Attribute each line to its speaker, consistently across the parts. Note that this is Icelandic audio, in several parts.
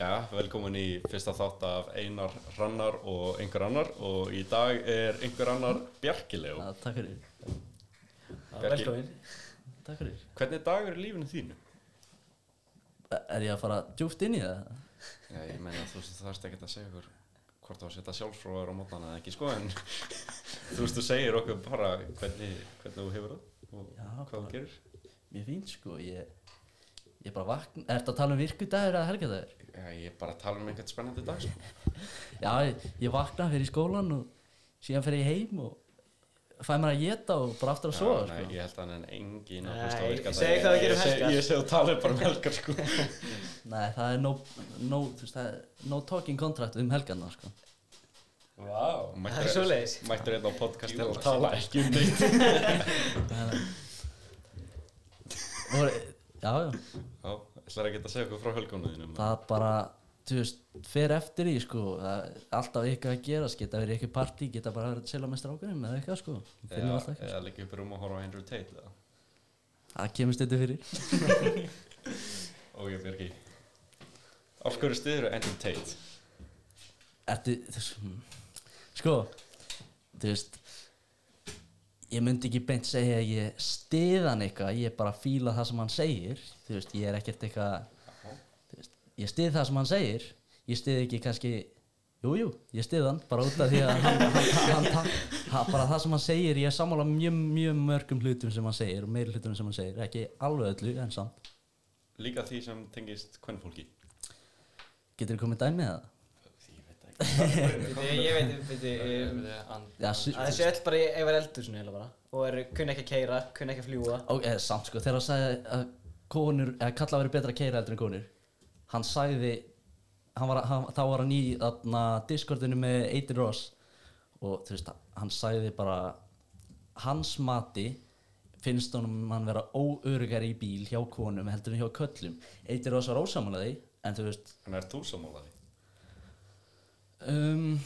Speaker 1: Já, velkomin í fyrsta þátt af Einar Rannar og einhver annar og í dag er einhver annar Bjarkilegu.
Speaker 2: Já, takk fyrir
Speaker 3: Já,
Speaker 1: Bjarki.
Speaker 3: Ah, Velkomin
Speaker 2: Takk fyrir
Speaker 1: Hvernig dagur er lífinu þínu?
Speaker 2: Er ég að fara djúft inn í það?
Speaker 1: Já, ég meina þú veist, það erst ekkert að segja okkur hvort þú að setja sjálfsfróðar á mótana eða ekki sko en þú veist, þú segir okkur bara hvernig, hvernig þú hefur það og
Speaker 2: Já,
Speaker 1: hvað þú
Speaker 2: bara-
Speaker 1: gerir.
Speaker 2: Mér finnst sko, ég Ég bara vakna Ertu að tala um virkudagur eða helgadagur?
Speaker 1: Já, ég er bara að tala um einhvern spennandi dag sko.
Speaker 2: Já, ég, ég vakna fyrir skólan og síðan fer ég heim og fæ mér að geta og bara aftur að sofa
Speaker 1: Já, nei,
Speaker 2: sko.
Speaker 1: Ég held að hann er engin
Speaker 3: Nei, segðu hvað þú gerir um helgar.
Speaker 1: Ég segi þú talir bara um helgar sko.
Speaker 2: Nei, það er no, no, þú veist, það er no talking contract um helgarna sko.
Speaker 1: Vá,
Speaker 3: Það er svoleiðis.
Speaker 1: Mættur einn hérna á podcast til að tala ekki um neitt
Speaker 2: Voru, já, já,
Speaker 1: Já, ætlar að geta að segja okkur frá helgónu þínum
Speaker 2: það bara þú veist, fer eftir í sko það er alltaf eitthvað að gerast, geta verið eitthvað partí geta bara verið að selja með strákunum eða eitthvað sko finnum alltaf eitthvað
Speaker 1: Eða líka upp í rúm og horfa á Andrew Tate eða
Speaker 2: það kemur stundum fyrir
Speaker 1: Og ég björgi Af hverju stiður Andrew Tate?
Speaker 2: Ertu, þess, hmm. sko, þú veist, ég myndi ekki beint segja að ég stiðan eitthvað, ég bara fíla það sem hann segir, þú veist, ég er ekkert eitthvað, þú veist, ég stið það sem hann segir, ég stið ekki kannski, jújú, jú, ég stið hann, bara út af því að hann, hann, hann, hann, hann, bara það sem hann segir, ég er sammála mjög, mjög mörgum hlutum sem hann segir og meiri hlutum sem hann segir, ekki alveg öllu, en samt,
Speaker 1: Líka því sem tengist kvennfólki
Speaker 2: getur þú komið dæmið það?
Speaker 1: Ég veit ekki
Speaker 3: Bíddu, Ég ég veit, bíddu, um,
Speaker 2: Já, su-
Speaker 3: að þessi öll bara í- eiga að vera eldur svona heila bara og er, kunna ekki að keira, kunna ekki að fljúa
Speaker 2: Og eða, samt sko, þegar hann sagði að konur, eða kalla verið betra að keira heldur en konur Hann sagði, hann var, hann, þá var hann í þarna Discordinu með Eitir Ross Og þú veist, hann sagði bara, hans mati finnst honum hann vera óörugari í bíl hjá konum heldur en hjá köllum Eitir Ross var ósamanlega því, en þú veist,
Speaker 1: En er þú sammála því?
Speaker 2: Um,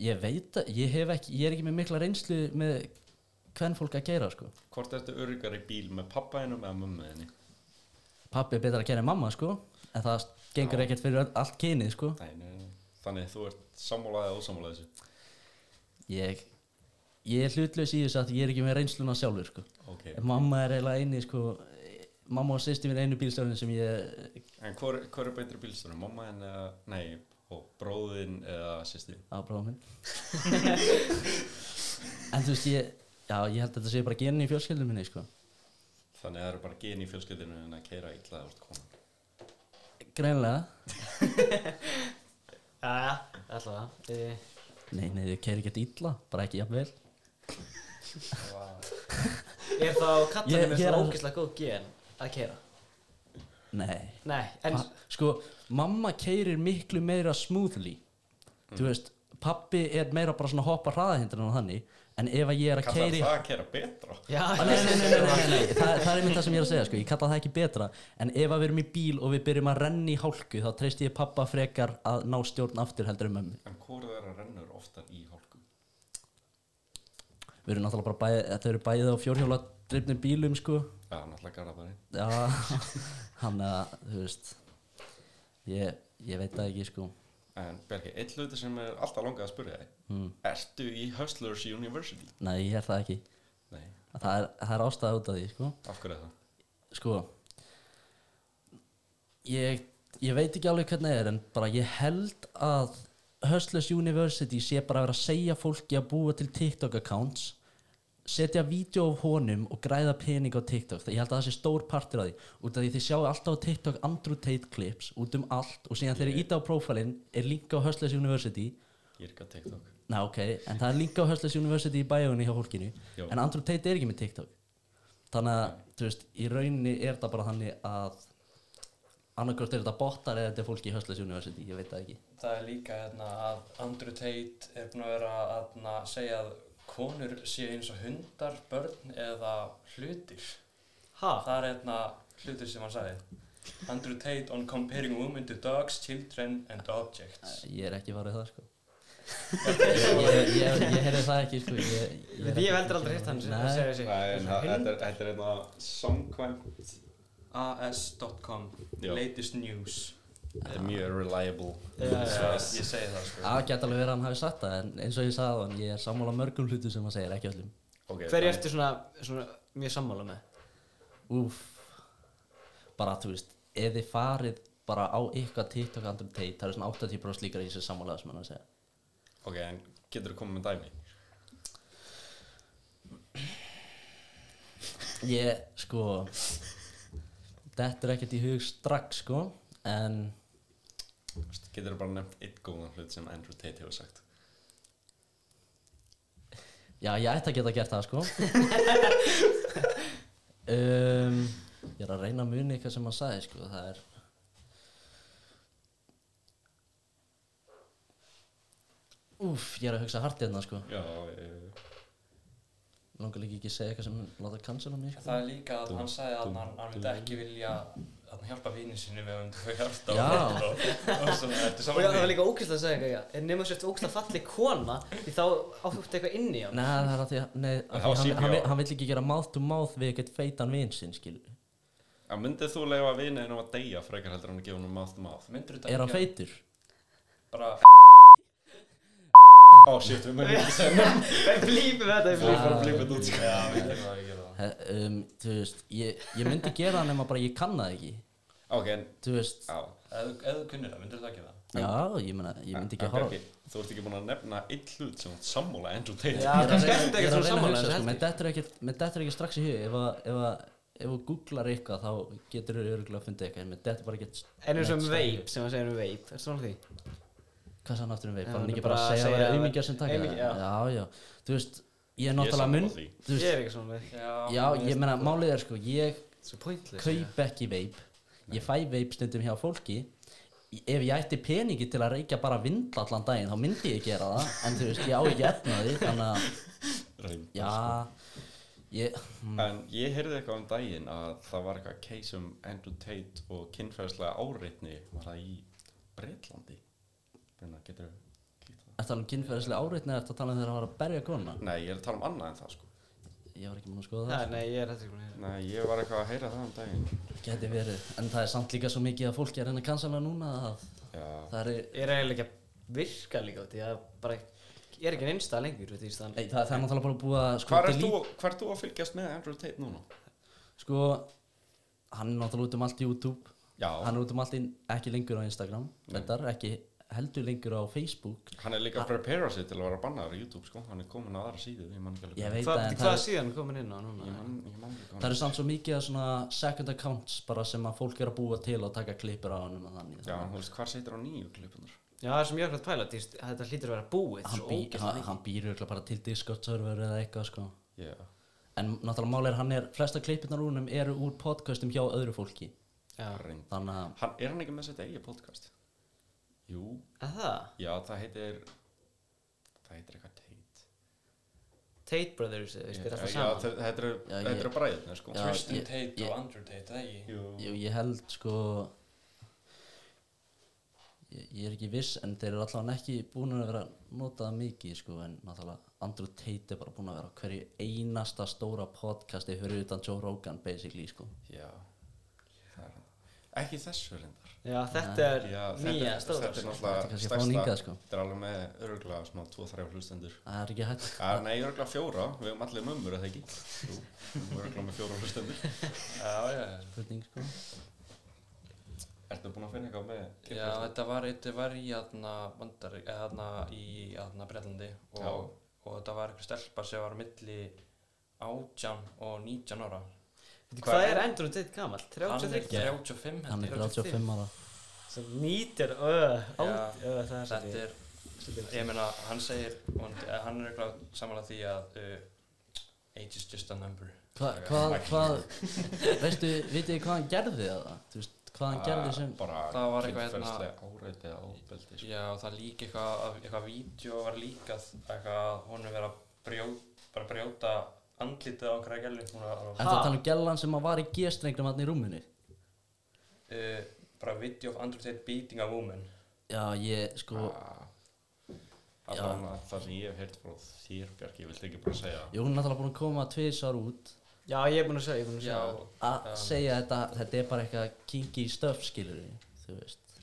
Speaker 2: ég veit að ég hef ekki, ég er ekki með mikla reynslu með hvern fólk að gera sko
Speaker 1: Hvort ertu öryggar í bíl með pappaðinum eða mömmuðinni?
Speaker 2: pappi er betra að gera en mamma sko en það gengur ekkert fyrir öll- allt kynið sko
Speaker 1: Nei, nei, nei Þannig þú ert sammála eða ósammála þessu
Speaker 2: ég, ég er hlutlaus í þessu að ég er ekki með reynsluna sjálfur sko
Speaker 1: Ok
Speaker 2: mamma er eiginlega eini sko mamma og sýsti mín er einu bílstjórnin sem ég
Speaker 1: En hvor, hvor er betri bílstöru? Mamma en eða, nei, og bróðin eða sýstin?
Speaker 2: afbráða minn en þú veist ég já ég held að þetta sé bara genin í fjölskyldum minni sko
Speaker 1: Þannig að það eru bara gen í fjölskyldinu en að keira illa eða úr konan
Speaker 2: greinlega
Speaker 3: Jæja, alltaf það
Speaker 2: nei nei þau keiri ekkert illa bara ekki jafnvel
Speaker 3: Er þá
Speaker 2: Ég-
Speaker 3: kallanum með
Speaker 2: ég er
Speaker 3: svona
Speaker 2: að-
Speaker 3: ógeðslega góð gen að keira?
Speaker 2: nei
Speaker 3: Nei, en
Speaker 2: Pa- sko, mamma keirir miklu meira smoothly þú veist, pappi er meira bara svona hoppa hraðahindrin og þannig en ef að ég er að
Speaker 1: Kallar
Speaker 2: keiri
Speaker 1: það að keira betra?
Speaker 3: Já,
Speaker 2: Ah, Nei, nei, nei, nei, nei, nei, nei. Þa, það er einmitt það sem ég er að segja sko. ég kalla það ekki betra en ef að við erum í bíl og við byrjum að renna í hálku þá treyst ég pappa frekar að ná stjórn aftur heldur um mömmu
Speaker 1: En hvort þeirra rennur oftar í hálku?
Speaker 2: við erum náttúrulega bara bæði, þau eru bæðið á fjórhjóla drifnum bílum sko
Speaker 1: Já, náttúrulega Garðabæri.
Speaker 2: já, hann að, þú veist ég, ég veit það ekki sko
Speaker 1: En Bjarki, einn hluti sem er alltaf langað að spyrja þig.
Speaker 2: Mm.
Speaker 1: Ertu í Hustlers University?
Speaker 2: nei, ég er það ekki
Speaker 1: Nei,
Speaker 2: það er, það er ástæða út af því sko
Speaker 1: af hverju er það?
Speaker 2: sko ég, ég veit ekki alveg hvernig það er en bara ég held að Hustlers University sé bara að vera að segja fólki að búa til TikTok accounts setja vídeo af honum og græða pening á TikTok ég held að það sé stór partur af því út af því þið sjáu alltaf á TikTok Andrew Tate clips út um allt og síðan þegar ég íta á profilinn er link á Hustlers University
Speaker 1: Ég er ekki að TikTok.
Speaker 2: Ná, ok, en það er líka á Hustlers University í bæjónu hjá fólkinu
Speaker 1: Jó.
Speaker 2: En Andrew Tate er ekki með TikTok Þannig að, þú veist, í rauninni er það bara þannig að annarkvort er þetta bottar eða þetta er fólki í Hustlers University, ég veit það ekki
Speaker 4: Það er líka hérna, að Andrew Tate er búinn að vera að hérna, segja að konur séu eins og hundar, börn eða hlutir.
Speaker 3: Ha,
Speaker 4: Það er hérna, hlutir sem hann sagði. Andrew Tate on comparing women to dogs, children and objects.
Speaker 2: Ég er ekki varðið það, sko Ég, ég, ég, ég heyrði það ekki, sko Ég,
Speaker 3: ég hef heldur aldrei hitt hann
Speaker 2: Nei,
Speaker 3: segja sig
Speaker 1: Nei, en það-
Speaker 3: Hund-
Speaker 1: þetta er- þetta er einna samkvæmt
Speaker 4: as.com
Speaker 1: Já.
Speaker 4: latest news
Speaker 1: Það er mjög reliable
Speaker 3: Já, já,
Speaker 1: svar.
Speaker 4: ég, ég segi það sko
Speaker 2: Það geta alveg verið að hann hafi sagt það en eins og ég sagði á hann, ég er sammála mörgum hlutum sem hann segir, ekki öllum
Speaker 1: Ok,
Speaker 3: Hver
Speaker 1: þannig-
Speaker 3: ertu svona, svona mjög sammála með?
Speaker 2: Úf Bara, þú veist, ef þið farið bara á ykkar TikTok andrum teit það eru svona 80% líkar í þessu sammála sem hann er að segja
Speaker 1: Ok, en getur þú komið með dæmi?
Speaker 2: Ég, sko Þetta er ekkert í hug strax, sko En,
Speaker 1: Getur þú bara nefnt eitt góðan hlut sem Andrew Tate hefur sagt?
Speaker 2: já, ég ætti að geta gert það, sko um, Ég er að reyna að muni eitthvað sem hann sagði, sko Það er Úf, ég er að hugsa hart hérna, sko
Speaker 1: Já, eh, ég...
Speaker 2: langar líka ekki að segja eitthvað sem láta cancela mig sko.
Speaker 4: það er líka að
Speaker 1: Dum,
Speaker 4: hann sagði að
Speaker 1: dum,
Speaker 4: hann, hann
Speaker 1: dum.
Speaker 4: vildi ekki vilja að hjálpa vini sinu með hann þau hjarta
Speaker 2: Já.
Speaker 4: og, og, og svona, þetta
Speaker 3: Og
Speaker 4: er
Speaker 3: já, það var
Speaker 4: saman
Speaker 3: líka ókvæmst að segja eitthvað, já. En nema sért ókvæmst að falli kona, því þá áttu eitthvað inn í hann.
Speaker 2: Nei, það er að því að nei,
Speaker 1: Það
Speaker 2: af
Speaker 1: var
Speaker 2: því hann, hann,
Speaker 1: CPR.
Speaker 2: hann vill ekki gera mouth to mouth við eitthvað feitan vin sinn skilur
Speaker 1: Já, myndið þú leifa vininu að deyja frekar heldur hann að gefa hann mouth to mouth?
Speaker 4: myndur þetta
Speaker 2: Er hann feitur?
Speaker 4: bara
Speaker 1: Ó, shit, við mögum ekki segja nefn
Speaker 3: Við blífum þetta, við
Speaker 1: Við
Speaker 3: blífum.
Speaker 1: fyrir að blípa þetta út, sko
Speaker 4: já, við gerum það, við gerum það
Speaker 2: He, um, Þú veist, ég, ég myndi gera það nema bara ég kann það ekki
Speaker 1: Ok, en,
Speaker 2: Þú veist,
Speaker 1: á
Speaker 4: ef þú- ef þú kunnir það, myndur þetta ekki það
Speaker 2: já, ég, meina, ég myndi ekki
Speaker 1: En
Speaker 2: að horfa
Speaker 1: Bjarki, Þú ert ekki búin að nefna eitt hlut sem átt sammála Andrew Tate
Speaker 2: Ég
Speaker 3: Já,
Speaker 2: er að
Speaker 3: kannski
Speaker 2: reyna- ég
Speaker 3: ertu ekkert
Speaker 2: er að reyna
Speaker 3: svona
Speaker 2: að hugsa,
Speaker 3: sammála þessu
Speaker 2: sko,
Speaker 3: heldur.
Speaker 2: Mér dettur ekkert- mér dettur ekki strax í hug Ef að- ef að ef þú googlar eitthvað þá getur þú örgulega að funda eitthvað en mér dettur bara ekkert
Speaker 3: En eins og um
Speaker 2: neitt strax í hug.
Speaker 3: veip, sem að segja um veip, er svona því?
Speaker 2: Hvað sagði hann aftur um veip? Var
Speaker 3: Já,
Speaker 2: hann
Speaker 3: hann
Speaker 2: ekki
Speaker 3: er
Speaker 2: bara að segja að vera
Speaker 3: að-
Speaker 2: auðmingja sem taka
Speaker 3: aumingi- já.
Speaker 2: það? Já, já, þú veist, ég er náttúrulega
Speaker 1: sammála
Speaker 2: mun
Speaker 1: því.
Speaker 2: Þú
Speaker 3: Ég
Speaker 2: veist,
Speaker 3: er ekki svona veip.
Speaker 2: já, ég meina, málið er sko, ég
Speaker 3: Svo pointless.
Speaker 2: kaup ekki veip ég fæ veip stundum hjá fólki Í- ef ég ætti peningi til að reykja bara vind allan daginn þá myndi ég gera það en þú veist ég á ekki efnaði þannig að
Speaker 1: Reyndar, sko.
Speaker 2: já ég,
Speaker 1: En ég heyrði eitthvað um daginn að það var eitthvað case um Andrew Tate og kynferðislega áreitni var það í Breitlandi Þannig að getur
Speaker 2: er það um kynferðislega áreitni eða er það talað um þegar að var að berja kona
Speaker 1: Nei, ég er að tala um annað en það sko
Speaker 2: ég var ekki múin að skoða
Speaker 3: Já,
Speaker 2: það
Speaker 3: nei, ég er hættur ekki með
Speaker 1: Nei, ég var eitthvað að heyra það um daginn
Speaker 2: geti verið en það er samt líka svo mikið að fólki er henni að cancela núna að
Speaker 1: Já,
Speaker 2: það er nei,
Speaker 3: Ég er eiginlega ekki að virka líka út, ég er bara, ég er ekki einsta lengur, veit ég, í staðan.
Speaker 2: það, það er náttúrulega bara búið að sko,
Speaker 1: Hvar ert
Speaker 2: delete-
Speaker 1: þú, hvar ert þú að fylgjast með Andrew Tate núna?
Speaker 2: sko hann er náttúrulega út um allt YouTube
Speaker 1: Já,
Speaker 2: hann er út um allt inn, ekki lengur á Instagram þetta er ekki heldur lengur á Facebook
Speaker 1: hann er líka að prepara sig til að vera bannaður á YouTube sko Hann er komin á aðra síðu, ég man ekki alveg
Speaker 2: Ég veit
Speaker 3: Hvað,
Speaker 2: það, en
Speaker 3: hvað
Speaker 2: það, er-
Speaker 3: síðan komin inn á núna?
Speaker 1: Ég man, ég man ekki
Speaker 2: það eru samt svo mikið af svona second accounts bara sem að fólk er að búa til og taka klippur á honum og þannig
Speaker 1: Já, hún veist, hvar situr á nýju klipunar?
Speaker 3: Já, það er sem ég er hægt að pæla, þú veist, þetta hlýtur að vera búið,
Speaker 2: hann,
Speaker 3: svo
Speaker 2: bý,
Speaker 3: ógeðslega
Speaker 2: hann,
Speaker 3: mikið.
Speaker 2: hann býr örugglega bara til Discord server eða eitthvað sko
Speaker 1: Já,
Speaker 2: en náttúrulega málið er hann er flesta klippurnar úr honum eru úr podcastum hjá öðru fólki
Speaker 3: Já,
Speaker 1: reynd
Speaker 2: þannig að
Speaker 1: hann, Er hann ekki með sitt eigið podcast? Jú,
Speaker 3: að það,
Speaker 1: Já, það heitir Það heitir eitthvað teit
Speaker 3: Tate Brothers, þú veist, er
Speaker 1: Já,
Speaker 3: alltaf saman.
Speaker 1: þe- þetta eru-
Speaker 2: Já, ég-
Speaker 1: þetta eru bræðirnir sko
Speaker 2: Já,
Speaker 4: Tristan
Speaker 2: ég-
Speaker 4: Tate
Speaker 2: ég-
Speaker 4: og Andrew Tate, það ekki
Speaker 1: Jú.
Speaker 2: ég, ég held sko ég, ég er ekki viss en þeir eru allavega ekki búin að vera notaða mikið sko en náttúrulega Andrew Tate er bara búin að vera á hverju einasta stóra podcasti fyrir utan Joe Rogan basically sko
Speaker 1: Já það er hann. Ekki þessu reyndar
Speaker 3: Já, þetta er
Speaker 1: Já, þetta
Speaker 3: nýja,
Speaker 1: er-
Speaker 3: stóra.
Speaker 1: Þetta er
Speaker 2: sko. Þetta er
Speaker 1: náttúrulega
Speaker 2: kannski að fá hann hingað,
Speaker 1: stærsta
Speaker 2: sko.
Speaker 1: Þetta er alveg með örgulega smá 2-3 hlustendur
Speaker 2: það er ekki hægt
Speaker 1: Já, Nei, örgulega fjóra, við hefum allir mömmur eða ekki Jú, örgulega með fjóra hlustendur
Speaker 4: Já, já, já.
Speaker 2: spurning sko
Speaker 1: Ertu búin að finna eitthvað með
Speaker 4: Já, þetta var, þetta var í aðna bandar, eða aðna í aðna Breitlandi
Speaker 1: Já.
Speaker 4: og, og þetta var eitthvað stelpa sem var á milli átján og nítján ára.
Speaker 3: Veitu,
Speaker 1: Hvað
Speaker 3: Hvað
Speaker 1: er-
Speaker 3: er Andrew Tate gamall?
Speaker 4: Hann er
Speaker 3: 33?
Speaker 4: 35
Speaker 2: hann
Speaker 4: held
Speaker 2: er
Speaker 4: ég.
Speaker 2: 35 ára
Speaker 3: Sem nýtir, öð,
Speaker 4: Já.
Speaker 3: átt, öð, það er
Speaker 4: Þetta
Speaker 3: svolítið.
Speaker 4: er, ég meina, hann segir, hann eh, hann er eitthvað samanlega því að uh, age is just a number.
Speaker 2: hvað, hvað, hvað veistu, vitið þið hvað hann gerði það? þú veist, hvað hann gerði sem
Speaker 1: Ah, Bara
Speaker 4: Það var eitthvað hérna-
Speaker 1: kynferðislega áreiti eða ofbeldi sko.
Speaker 4: Já, og það líka eitthvað, að- eitthvað vídeo var líkað eitthvað að hún er verið að brjóta, bara brjóta andlitið á einhverja gælu. Hún var
Speaker 2: er það að tala um gellan sem að var í g-strengnum hann í rúminu
Speaker 4: uh, bara video of Andrew Tate beating a woman.
Speaker 2: já, ég sko
Speaker 1: Ah. Allan að það sem ég hef heyrt frá þér Bjarki, ég vildi ekki bara segja það?
Speaker 2: Jú, hún er náttúrulega búin að koma tvisar út
Speaker 3: Já, ég er búinn að sjá, ég er búinn að sjá
Speaker 4: Já,
Speaker 2: að
Speaker 4: um,
Speaker 2: segja þetta, þetta er bara eitthvað kinky stuff skilur við, þú veist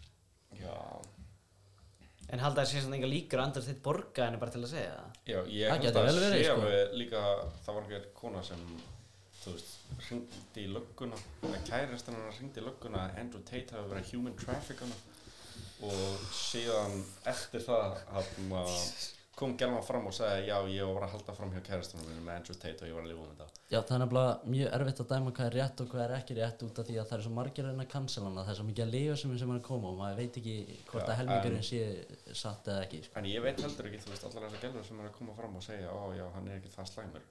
Speaker 4: já,
Speaker 3: En halda það sé svona enga líkur að Andrés þitt borga henni bara til að segja það
Speaker 1: Já, ég
Speaker 2: Það
Speaker 1: held
Speaker 2: gæti
Speaker 1: að
Speaker 2: vel verið,
Speaker 1: sé
Speaker 2: sko.
Speaker 1: alveg líka það var einhver kona sem þú veist, hringdi í lögguna eða kærastan hann hringdi í lögguna að Andrew Tate hafi verið human trafficking og síðan eftir það hann, uh, kom Gelman fram og sagði já, ég var bara að halda fram hjá kærastanum minn með Andrew Tate og ég var að lífa um þetta
Speaker 2: já það er nefnilega mjög erfitt að dæma hvað er rétt og hvað er ekki rétt út af því að það er svo margir að reyna að cancela hana það er svo mikið að lifa sem sem er að koma og maður veit ekki hvort
Speaker 1: Já,
Speaker 2: að helmingurinn sé satt eða ekki sko.
Speaker 1: en ég veit heldur ekki, þú veist, allar þessar Gelman sem er að koma fram og segja, ó já, hann er ekki það slæmur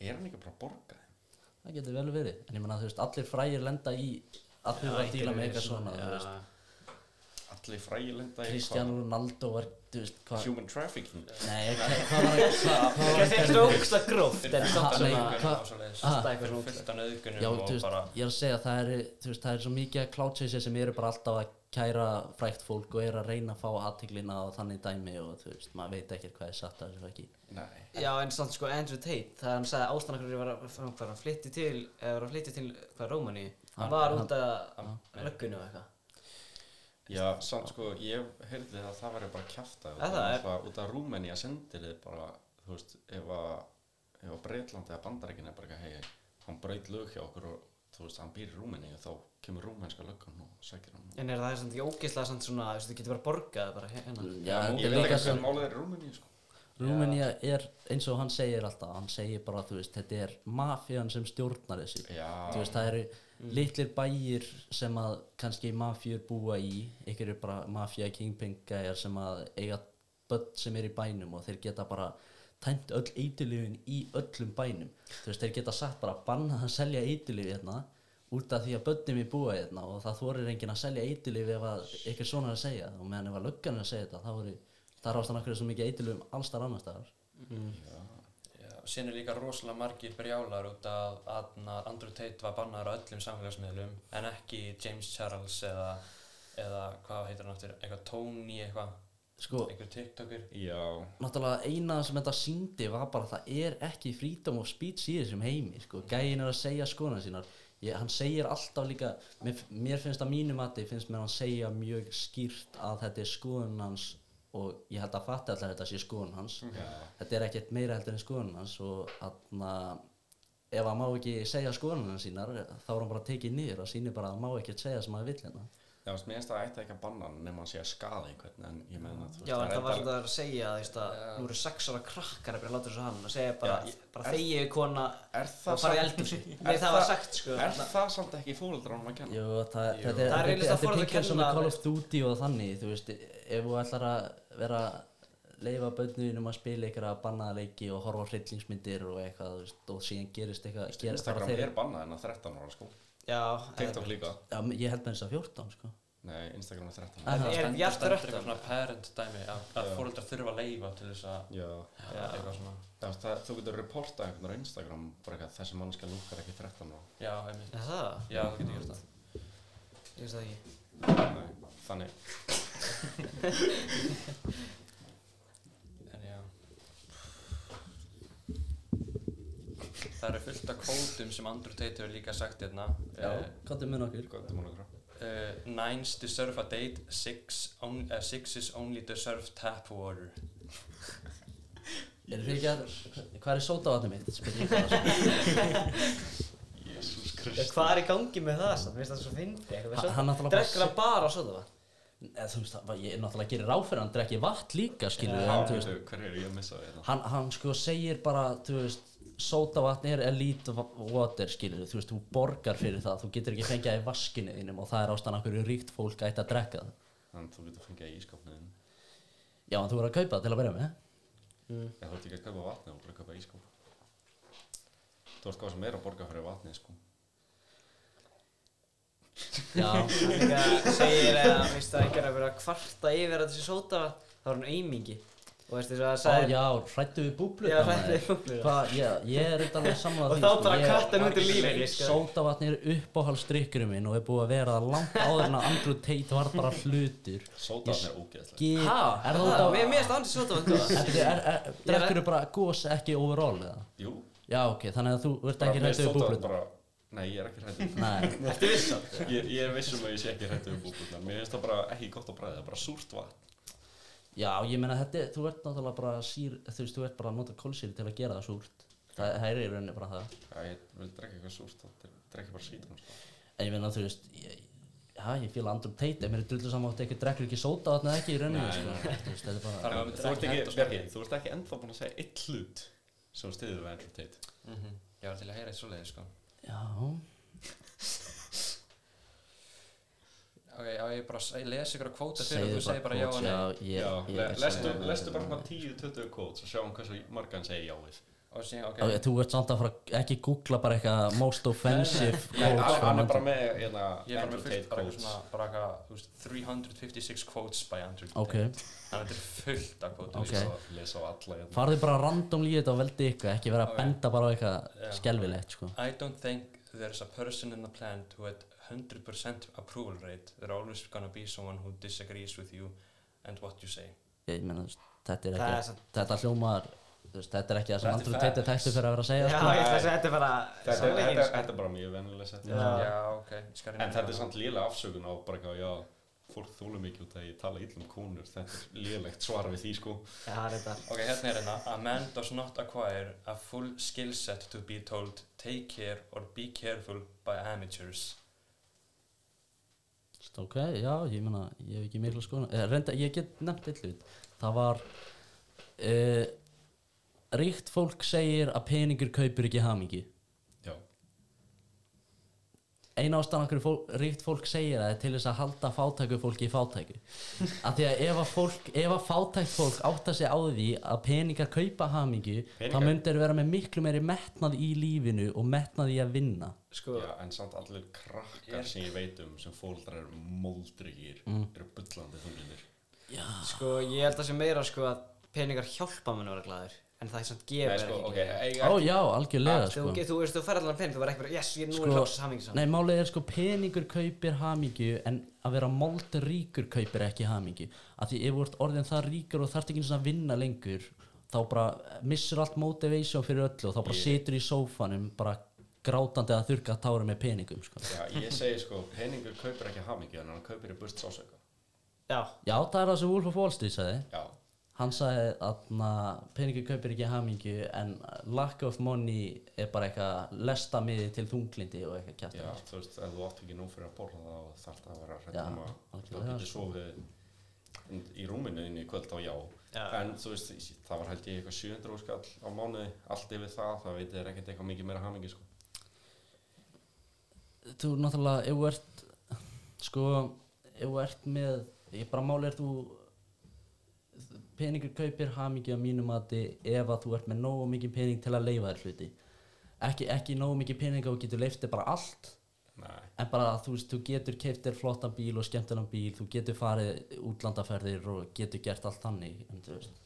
Speaker 1: er hann ekki bara að borga þeim?
Speaker 2: það getur vel verið en ég menna þú veist allir frægir lenda í allir eru að díla með eitthvað svona þú veist
Speaker 1: allir frægilenda í
Speaker 2: Cristiano Ronaldo var þú veist
Speaker 1: hvað-
Speaker 2: hvað
Speaker 1: human trafficking
Speaker 2: nei hvað hvað var hvað- hvað var
Speaker 3: Það er
Speaker 2: ekki
Speaker 3: svo ógsta gróft en samt
Speaker 2: nei,
Speaker 3: svona
Speaker 2: hvað-
Speaker 4: Alltaf
Speaker 3: Alltaf eitthvað svona
Speaker 4: fullt af nöðgunum
Speaker 2: Já,
Speaker 4: og
Speaker 2: þú veist,
Speaker 4: bara
Speaker 2: ég er að segja, það er, þú veist, það er svo mikið að klátseysið sem eru bara alltaf að kæra frækt fólk og eru að reyna að fá aðteglina og þannig dæmi og þú veist, maður veit ekkert hvað er satt að þessu ekki.
Speaker 1: nei
Speaker 3: Já, en samt sko Andrew Tate, það hann sagði ástæðan okkur var að hann var að flytti til, eða var að flytti til, hvað, Rómani
Speaker 2: Hann-
Speaker 3: Hann var
Speaker 2: hann-
Speaker 3: út að löggunni og eitthvað
Speaker 1: Já, samt sko, ég heyrði að það væri bara kjafta
Speaker 3: Ja, það er-
Speaker 1: út af Rúmeni að sendi þið bara, þú veist, ef að ef að Breitland eða Bandaríkin er bara eitthvað hei, hann braut lög hjá okkur og þú veist, hann býr í Rúmeni og þá kemur rúmenska löggan og sækir hann
Speaker 3: En er það samt ekki ógeðslega samt svona, þú veist, þú getur bara borgað bara hérna
Speaker 2: Já, þetta
Speaker 1: Ég
Speaker 2: er
Speaker 1: veit
Speaker 2: líka
Speaker 1: ekki
Speaker 2: svo,
Speaker 1: hvað málið er í Rúmeni, sko
Speaker 2: Rúmenía er, eins og hann segir alltaf, hann segir bara, þú veist, þetta er mafían sem stjórnar þessu.
Speaker 1: Já,
Speaker 2: Þú veist, það eru litlir bæir sem að kannski mafjur búa í, ykkur eru bara mafja kingpingar sem að eiga börn sem er í bænum og þeir geta bara tæmt öll eitilifin í öllum bænum. Þú veist, þeir geta sagt bara bannað að selja eitilifi hérna út af því að börnum er búa hérna og það þorir enginn að selja eitilifi ef að ykkur svona er að segja það. og meðan ef að löggan er að segja þetta þá eru, það er ástæðan okkur svo mikið eitilifum allstar annars staðar.
Speaker 4: já, síðan er líka rosalega margir brjálar út af að Andrew Tate var bannar á öllum samfélagsmiðlum en ekki James Charles eða, eða hvað heitir hann aftur, eitthvað Tony eitthvað,
Speaker 2: Sko,
Speaker 4: einhver TikToker
Speaker 1: já,
Speaker 2: náttúrulega eina sem þetta síndi var bara að það er ekki freedom of speech í þessum heimi sko. gæin er að segja skoðan sínar ég, hann segir alltaf líka mér, mér finnst að mínu mati finnst mér hann segja mjög skýrt að þetta er skoðun hans og ég held að fatta alltaf þetta sé skoðun hans
Speaker 1: Mm.
Speaker 2: þetta er ekkert meira heldur en skoðun hans og aðna ef hann má ekki segja skoðun hans sínar þá er hann bara tekið niður og sýnir bara að hann má ekkert segja sem hann vill hérna
Speaker 1: já, veist, mér finnst það ætti ekki að banna hann nema hann sé að skaða einhvern en ég meina, þú veist,
Speaker 3: Já, en það var
Speaker 1: endal-
Speaker 3: þetta að segja, þú veist, að nú eru sex ára krakkar að byrja að láta þessu hann og segja bara,
Speaker 1: Já, ég-
Speaker 3: bara þegið kona
Speaker 1: Er það
Speaker 3: og fara í
Speaker 1: samt-
Speaker 3: eldur sig
Speaker 1: Er
Speaker 3: Nei, það var
Speaker 1: það-
Speaker 3: sagt, sko
Speaker 1: Er það samt ekki fólaldránum að kenna?
Speaker 2: Jú, það, þetta er,
Speaker 3: Það er
Speaker 2: þetta er,
Speaker 3: eiginlega
Speaker 2: þetta er
Speaker 3: forðað að
Speaker 2: pingjum svona
Speaker 3: kenna,
Speaker 2: Call of Duty og þannig, þú veist, ef þú ætlar að vera leifa bönnunum að spila einhverja bannaða leiki og horfa á hryllingsmyndir og eitthvað, þú veist, og síðan gerist eitthvað, gerist
Speaker 1: Instagram
Speaker 2: bara þeir,
Speaker 1: er bannað en að 13 ára sko
Speaker 3: Já,
Speaker 1: TikTok líka
Speaker 2: já, ég held með þess að 14, sko.
Speaker 1: Nei, Instagram er 13
Speaker 2: Aha.
Speaker 3: Er
Speaker 4: Stendur-
Speaker 3: Bjartur
Speaker 4: stendur
Speaker 3: Öttan?
Speaker 4: eitthvað svona parent dæmi að, að fóreldrar þurfa að leifa til þess að
Speaker 1: Já
Speaker 4: já. eitthvað svona
Speaker 1: Það, það, þú getur reportað einhvern veginn á Instagram bara eitthvað þessi mannska lúkar ekki 13 ára
Speaker 4: já, einmitt,
Speaker 3: Er það?
Speaker 4: já, þú getur gert það
Speaker 3: Ég veist það ekki
Speaker 1: Nei, þannig
Speaker 4: en já það eru fullt af kótum sem Andrew Tate hefur líka sagt hérna Eh,
Speaker 2: Hvað er með nokkur?
Speaker 1: Góðum hún okkur
Speaker 4: Uh, nines deserve a date, six, on, uh, sixes only deserve tap water.
Speaker 2: Er þið ekki að, hvað er sótavatnum mitt? Spyr ég bara, sko.
Speaker 1: Jésús
Speaker 3: Já, Hvað er í gangi með það samt? Mér finnst það svo fyndið eitthvað með
Speaker 2: Hann- hann
Speaker 3: soda-
Speaker 2: náttúrulega bara
Speaker 3: Drekkur hann bara soda vatn?
Speaker 2: Eða, þú veist, það- ég náttúrulega gerir ráfyrir, hann drekki vatn líka, skilur við, en þú veist,
Speaker 1: Kristur Hver er ég að missa þetta?
Speaker 2: hann, hann sko segir bara þú veist, sótavatn er elite va- water skilur, þú veist, þú borgar fyrir það þú getur ekki fengið það í vaskinu þínum og það er ástæðan af hverju ríkt fólk ætti að drekka það
Speaker 1: Þannig þú getur fengið í ískapniðin
Speaker 2: já, en þú verður að kaupa það til að byrja með
Speaker 1: Já, þú ert ekki að kaupa vatni og bara að kaupa ískap Þú ert hvað sem er að borga fyrir vatni sko
Speaker 2: já,
Speaker 3: Þegar segir að mér finnst það einhver að vera að kvarta yfir að þessi soda vatn þá er hann aumingi og veist þess að það
Speaker 2: Ó,
Speaker 3: sagði
Speaker 2: já hrættu við búblur
Speaker 3: Já, hræddu við búblurnar.
Speaker 2: ég, ég er þetta alveg samlega
Speaker 3: Og þá bara kattan út í lífið
Speaker 2: sótavatn er uppáhaldstrykkurinn minn og er búið að vera það langt áður en að Andrew Tate var bara hlutur
Speaker 1: Sótaðan er ógeðslega
Speaker 2: Gil,
Speaker 3: Hæ?
Speaker 2: er það út
Speaker 3: sko. Mér mér finnst það hann til soda vatn
Speaker 2: af drekkur þú bara gósa ekki overall eða?
Speaker 1: Jú,
Speaker 2: Já, ok, þannig að þú ert ekki hrættu við búblun
Speaker 1: bara, Nei, ég er ekki hrættu við
Speaker 2: Nei,
Speaker 3: Ertu viss samt?
Speaker 1: búblun ég, ég er vissum að ég sé ekki hrættu við búblun Mér finnst það bara ekki gott að bræða, það er bara súrt vatn
Speaker 2: já, ég meina þetta, er- þú ert náttúrulega bara sír, þú veist, þú ert bara að nota kólsýri til að gera það súrt Það það er í rauninni bara það
Speaker 1: Já, ég vil drekka eitthvað súrt, það drekka bara sítrón
Speaker 2: En ég meina, þú veist, ég, já, ég fíla andrum teit En mér er drullu saman átt ekki, drekkur ekki sóta þarna ekki í rauninni,
Speaker 1: Nei,
Speaker 2: sko Þú veist, þetta er bara,
Speaker 4: Þar-
Speaker 1: Þú
Speaker 4: Þannig að
Speaker 1: ert
Speaker 4: maður myndi
Speaker 1: ekki,
Speaker 4: ekki henta
Speaker 1: Bjarki, þú ert ekki ennþá búin að segja eitt hlut sem stiður við Andrew Tate
Speaker 4: Mhm. Ég var til að heyra eitt svoleiði sko
Speaker 2: já
Speaker 4: Ok, já ég bara s- ég les ykkur að kvóta fyrir og
Speaker 2: segðu
Speaker 4: þú segir bara já og
Speaker 2: quotes,
Speaker 4: nei
Speaker 2: Já,
Speaker 1: Já,
Speaker 2: ég,
Speaker 1: le,
Speaker 2: ég,
Speaker 1: lestu,
Speaker 2: ég-
Speaker 1: lestu bara hann 10-20 quotes og sjáum hversu margan segja jáið
Speaker 4: Og síðan, ok,
Speaker 2: Ok, Þú ert samt að fara ekki googla bara eitthvað most offensive
Speaker 1: Nei,
Speaker 2: quotes
Speaker 1: hann
Speaker 2: frá
Speaker 1: hann er
Speaker 2: Andrew
Speaker 1: bara með hérna,
Speaker 4: ég er bara
Speaker 1: Andrew
Speaker 4: með
Speaker 1: Tate
Speaker 4: fullt bara eitthvað
Speaker 1: quotes
Speaker 4: svona bara eitthvað, þú veist, 356 quotes by Andrew Tate
Speaker 2: Ok,
Speaker 4: Þannig að þetta er fullt af quotum
Speaker 2: Ok.
Speaker 4: sko.
Speaker 1: Lesa- Lesa á alla hérna
Speaker 2: farðu bara random lífið þetta og veldi ykkur, ekki vera að
Speaker 4: Ok.
Speaker 2: benda bara á eitthvað
Speaker 4: Já.
Speaker 2: skelvilegt, sko.
Speaker 4: I don't think there's a person in the planet who had 100% approval rate. There always gonna be someone who disagrees with you and what you say.
Speaker 2: Ég meina, þú veist, þetta er
Speaker 3: Það
Speaker 2: ekki,
Speaker 3: er samt-
Speaker 2: þetta hljómar, þú veist, þetta er ekki það sem
Speaker 4: Þetta er
Speaker 2: Andrew
Speaker 4: facts.
Speaker 2: Tate er þekktu fyrir að vera að
Speaker 3: Já,
Speaker 2: segja,
Speaker 3: ég
Speaker 2: sko.
Speaker 3: ætla að segja þetta er bara
Speaker 1: Þetta er-
Speaker 3: sannleikin,
Speaker 1: Þetta
Speaker 3: sko.
Speaker 1: þetta er bara mjög vennilega sett
Speaker 3: Já.
Speaker 4: Já, ok, ég skal reyna
Speaker 1: En
Speaker 4: að
Speaker 1: þetta er
Speaker 4: gera
Speaker 1: samt lélega afsökun á bara eitthvað, já, fólk þólum ekki út að ég tala illa um konur, þetta er lélegt svar við því sko.
Speaker 3: Já, þetta
Speaker 4: það. Ok, hérna er hérna. A man does not acquire a full skill set to be told take care or be careful by amateurs.
Speaker 2: Þú veist, Ok, já, ég meina, ég hef ekki mikla skoðan. Eh, reynda, ég get nefnt eitt hlut. Það var, uh, ríkt fólk segir að peningur kaupir ekki hamingi.
Speaker 1: Já,
Speaker 2: eina ástæðan okkur fól, ríkt fólk segir það er til þess að halda fátæku fólki í fátæku af því að ef að, fólk, ef að fátækt fólk átta sig á því að peningar kaupa hamingu þá
Speaker 1: Peningar-
Speaker 2: myndir vera með miklu meiri metnað í lífinu og metnað í að vinna
Speaker 3: Sko,
Speaker 1: já, en samt allir krakkar
Speaker 4: Ég-
Speaker 1: sem ég veit um sem fóldrar eru móldryggir,
Speaker 2: Mm.
Speaker 1: eru bullandi þunglindir.
Speaker 3: sko, ég held að sé meira sko að peningar hjálpa mann að vera glæður En það er samt gefur
Speaker 1: Nei, sko,
Speaker 3: ekki
Speaker 1: ok,
Speaker 3: glæður.
Speaker 1: eiga
Speaker 2: ó já, algjörlega
Speaker 3: Þú,
Speaker 2: sko.
Speaker 3: þú veist, þú færði allan pening, þú verður ekki bara, yes, ég nú er
Speaker 2: Sko,
Speaker 3: hlokks hamingi saman
Speaker 2: nei, málið er sko peningur kaupir hamingu en að vera moldur ríkur kaupir ekki hamingu af því ef þú ert orðin það ríkur og þarft ekki eins og að vinna lengur þá bara missur allt motivation fyrir öllu og þá bara
Speaker 1: Ég-
Speaker 2: situr í sófanum bara grátandi að þurka tára með peningum sko.
Speaker 1: Já, ég segi sko, peningur kaupir ekki hamingi en hann kaupir í burt sásöka.
Speaker 3: Já,
Speaker 2: já, það er það sem Wolf of Wall Street sagði
Speaker 1: Já,
Speaker 2: hann sagði að peningur kaupir ekki hamingu en lack of money er bara eitthvað lesta miði til þunglindi og
Speaker 1: já,
Speaker 2: eitthvað kjartan
Speaker 1: þú veist, ef þú átt ekki nóg fyrir að borða þá þarf það að vera
Speaker 2: Já,
Speaker 1: hrættum að þú
Speaker 2: algjörlega,
Speaker 1: getur sofið í rúminu inn í kvöld á já.
Speaker 3: Já.
Speaker 1: En þú veist, það var held ég eitthvað 700 skall á mánuði, allt yfir það, það veit þér ekkert eitthvað mikið meira hamingi sko.
Speaker 2: þú náttúrulega ef þú ert sko, ef þú ert með ég bara máli er þú peningur kaupir hamingi á mínum mati ef að þú ert með nógu mikið pening til að leifa þér hluti ekki, ekki nógu mikið pening og getur leifti bara allt
Speaker 1: Nei.
Speaker 2: en bara þú veist, þú getur keift þér flottan bíl og skemmtilegan bíl, þú getur farið útlandaferðir og getur gert allt þannig en þú veist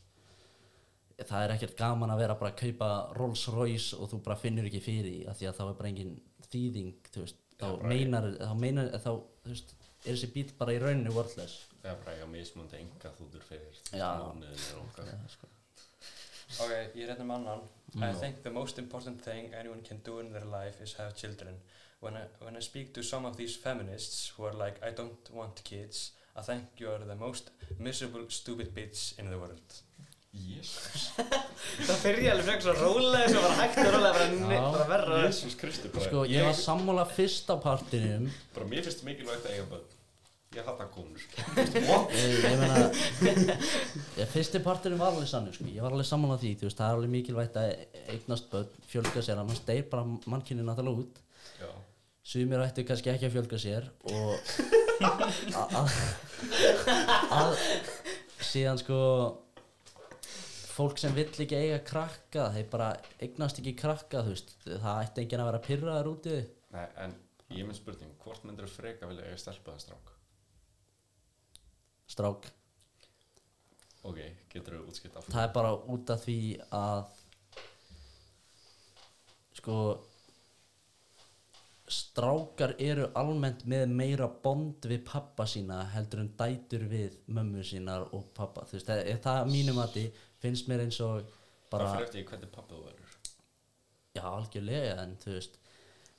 Speaker 2: það er ekkert gaman að vera bara að kaupa Rolls Royce og þú bara finnur ekki fyrir því af því að þá er bara engin þýðing þú veist, þá
Speaker 1: Já, bara-
Speaker 2: meinar þá meinar, þá, þú veist, er þessi bíl bara í rauninu worthless
Speaker 1: eða bara eiga mismunandi enga þútur fyrir
Speaker 2: Já.
Speaker 1: mánuðinu og okkar
Speaker 4: Ok, ég er hérna með annan. I think the most important thing anyone can do in their life is have children. When I, when I speak to some of these feminists who are like, I don't want kids, I think you are the most miserable, stupid bitch in the world.
Speaker 1: Jésús
Speaker 3: það fyrir alveg frekar svo rólega sem bara hægt og rólega bara, ne-
Speaker 2: Já.
Speaker 3: bara verra og-
Speaker 1: Jésús Kristi bara,
Speaker 2: sko, ég
Speaker 1: ég,
Speaker 2: var sammála fyrsta partinum
Speaker 1: bara mér finnst mikilvægt að eiga börn ég hata konur sko. What?
Speaker 2: ég, ég meina ég, fyrsti parturinn var alveg sannur sko. ég var alveg sammála því, þú veist, það er alveg mikilvægt að eignast börn, fjölga sér annars deyr bara mannkynni náttúrulega út
Speaker 1: Já,
Speaker 2: sumir ættu kannski ekki að fjölga sér og a- a- að síðan sko fólk sem vill ekki eiga krakka þeir bara eignast ekki krakka þú veist, það ætti enginn að vera pyrraðar úti
Speaker 1: Nei, en ég er með spurning hvort myndir þú freka vilja eiga stelpa eða strák?
Speaker 2: strák,
Speaker 1: Ok, getur þú útskipt af
Speaker 2: það er bara út af því að sko strákar eru almennt með meira bond við pappa sína heldur en dætur við mömmu sínar og pappa þú veist, það, það mínum að því finnst mér eins og
Speaker 1: bara
Speaker 2: bara
Speaker 1: fyrir eftir því hvernig pappi þú verður
Speaker 2: já, algjörlega en þú veist,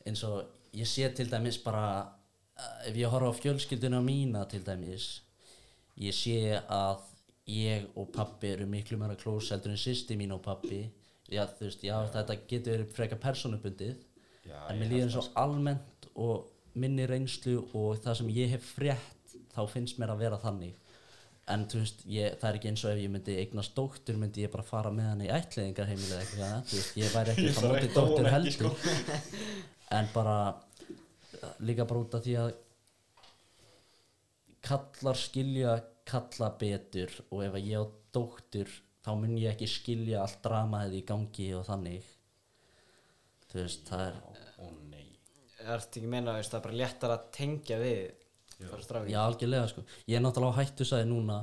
Speaker 2: eins og ég sé til dæmis bara eh, ef ég horfa á fjölskylduna mína til dæmis ég sé að ég og pappi eru miklu meira klós heldur en sýsti mín og pappi já, þú veist, já, þetta getur verið frekar persónubundið
Speaker 1: Já,
Speaker 2: en
Speaker 1: ég
Speaker 2: mér
Speaker 1: held
Speaker 2: líður eins
Speaker 1: það, sko.
Speaker 2: og almennt og minni reynslu og það sem ég hef frétt þá finnst mér að vera þannig en þú veist, ég, það er ekki eins og ef ég myndi eignast dóttur myndi ég bara fara með hann í ætliðingarheimili eða eitthvað þú veist, ég væri ekki
Speaker 1: Ég þarf
Speaker 2: eitthvað mótið
Speaker 1: ekki að
Speaker 2: dóttur
Speaker 1: vona ekki,
Speaker 2: heldur
Speaker 1: sko.
Speaker 2: en bara líka bara út af því að kallar skilja kalla betur og ef að ég á dóttur þá mun ég ekki skilja allt dramaðið í gangi og þannig þú veist, það er
Speaker 1: Ó nei
Speaker 3: Það er ekki að meina veist, það er bara léttar að tengja við
Speaker 1: Já.
Speaker 3: bara strákin.
Speaker 2: Já, algjörlega sko. Ég er náttúrulega á hættu sæði núna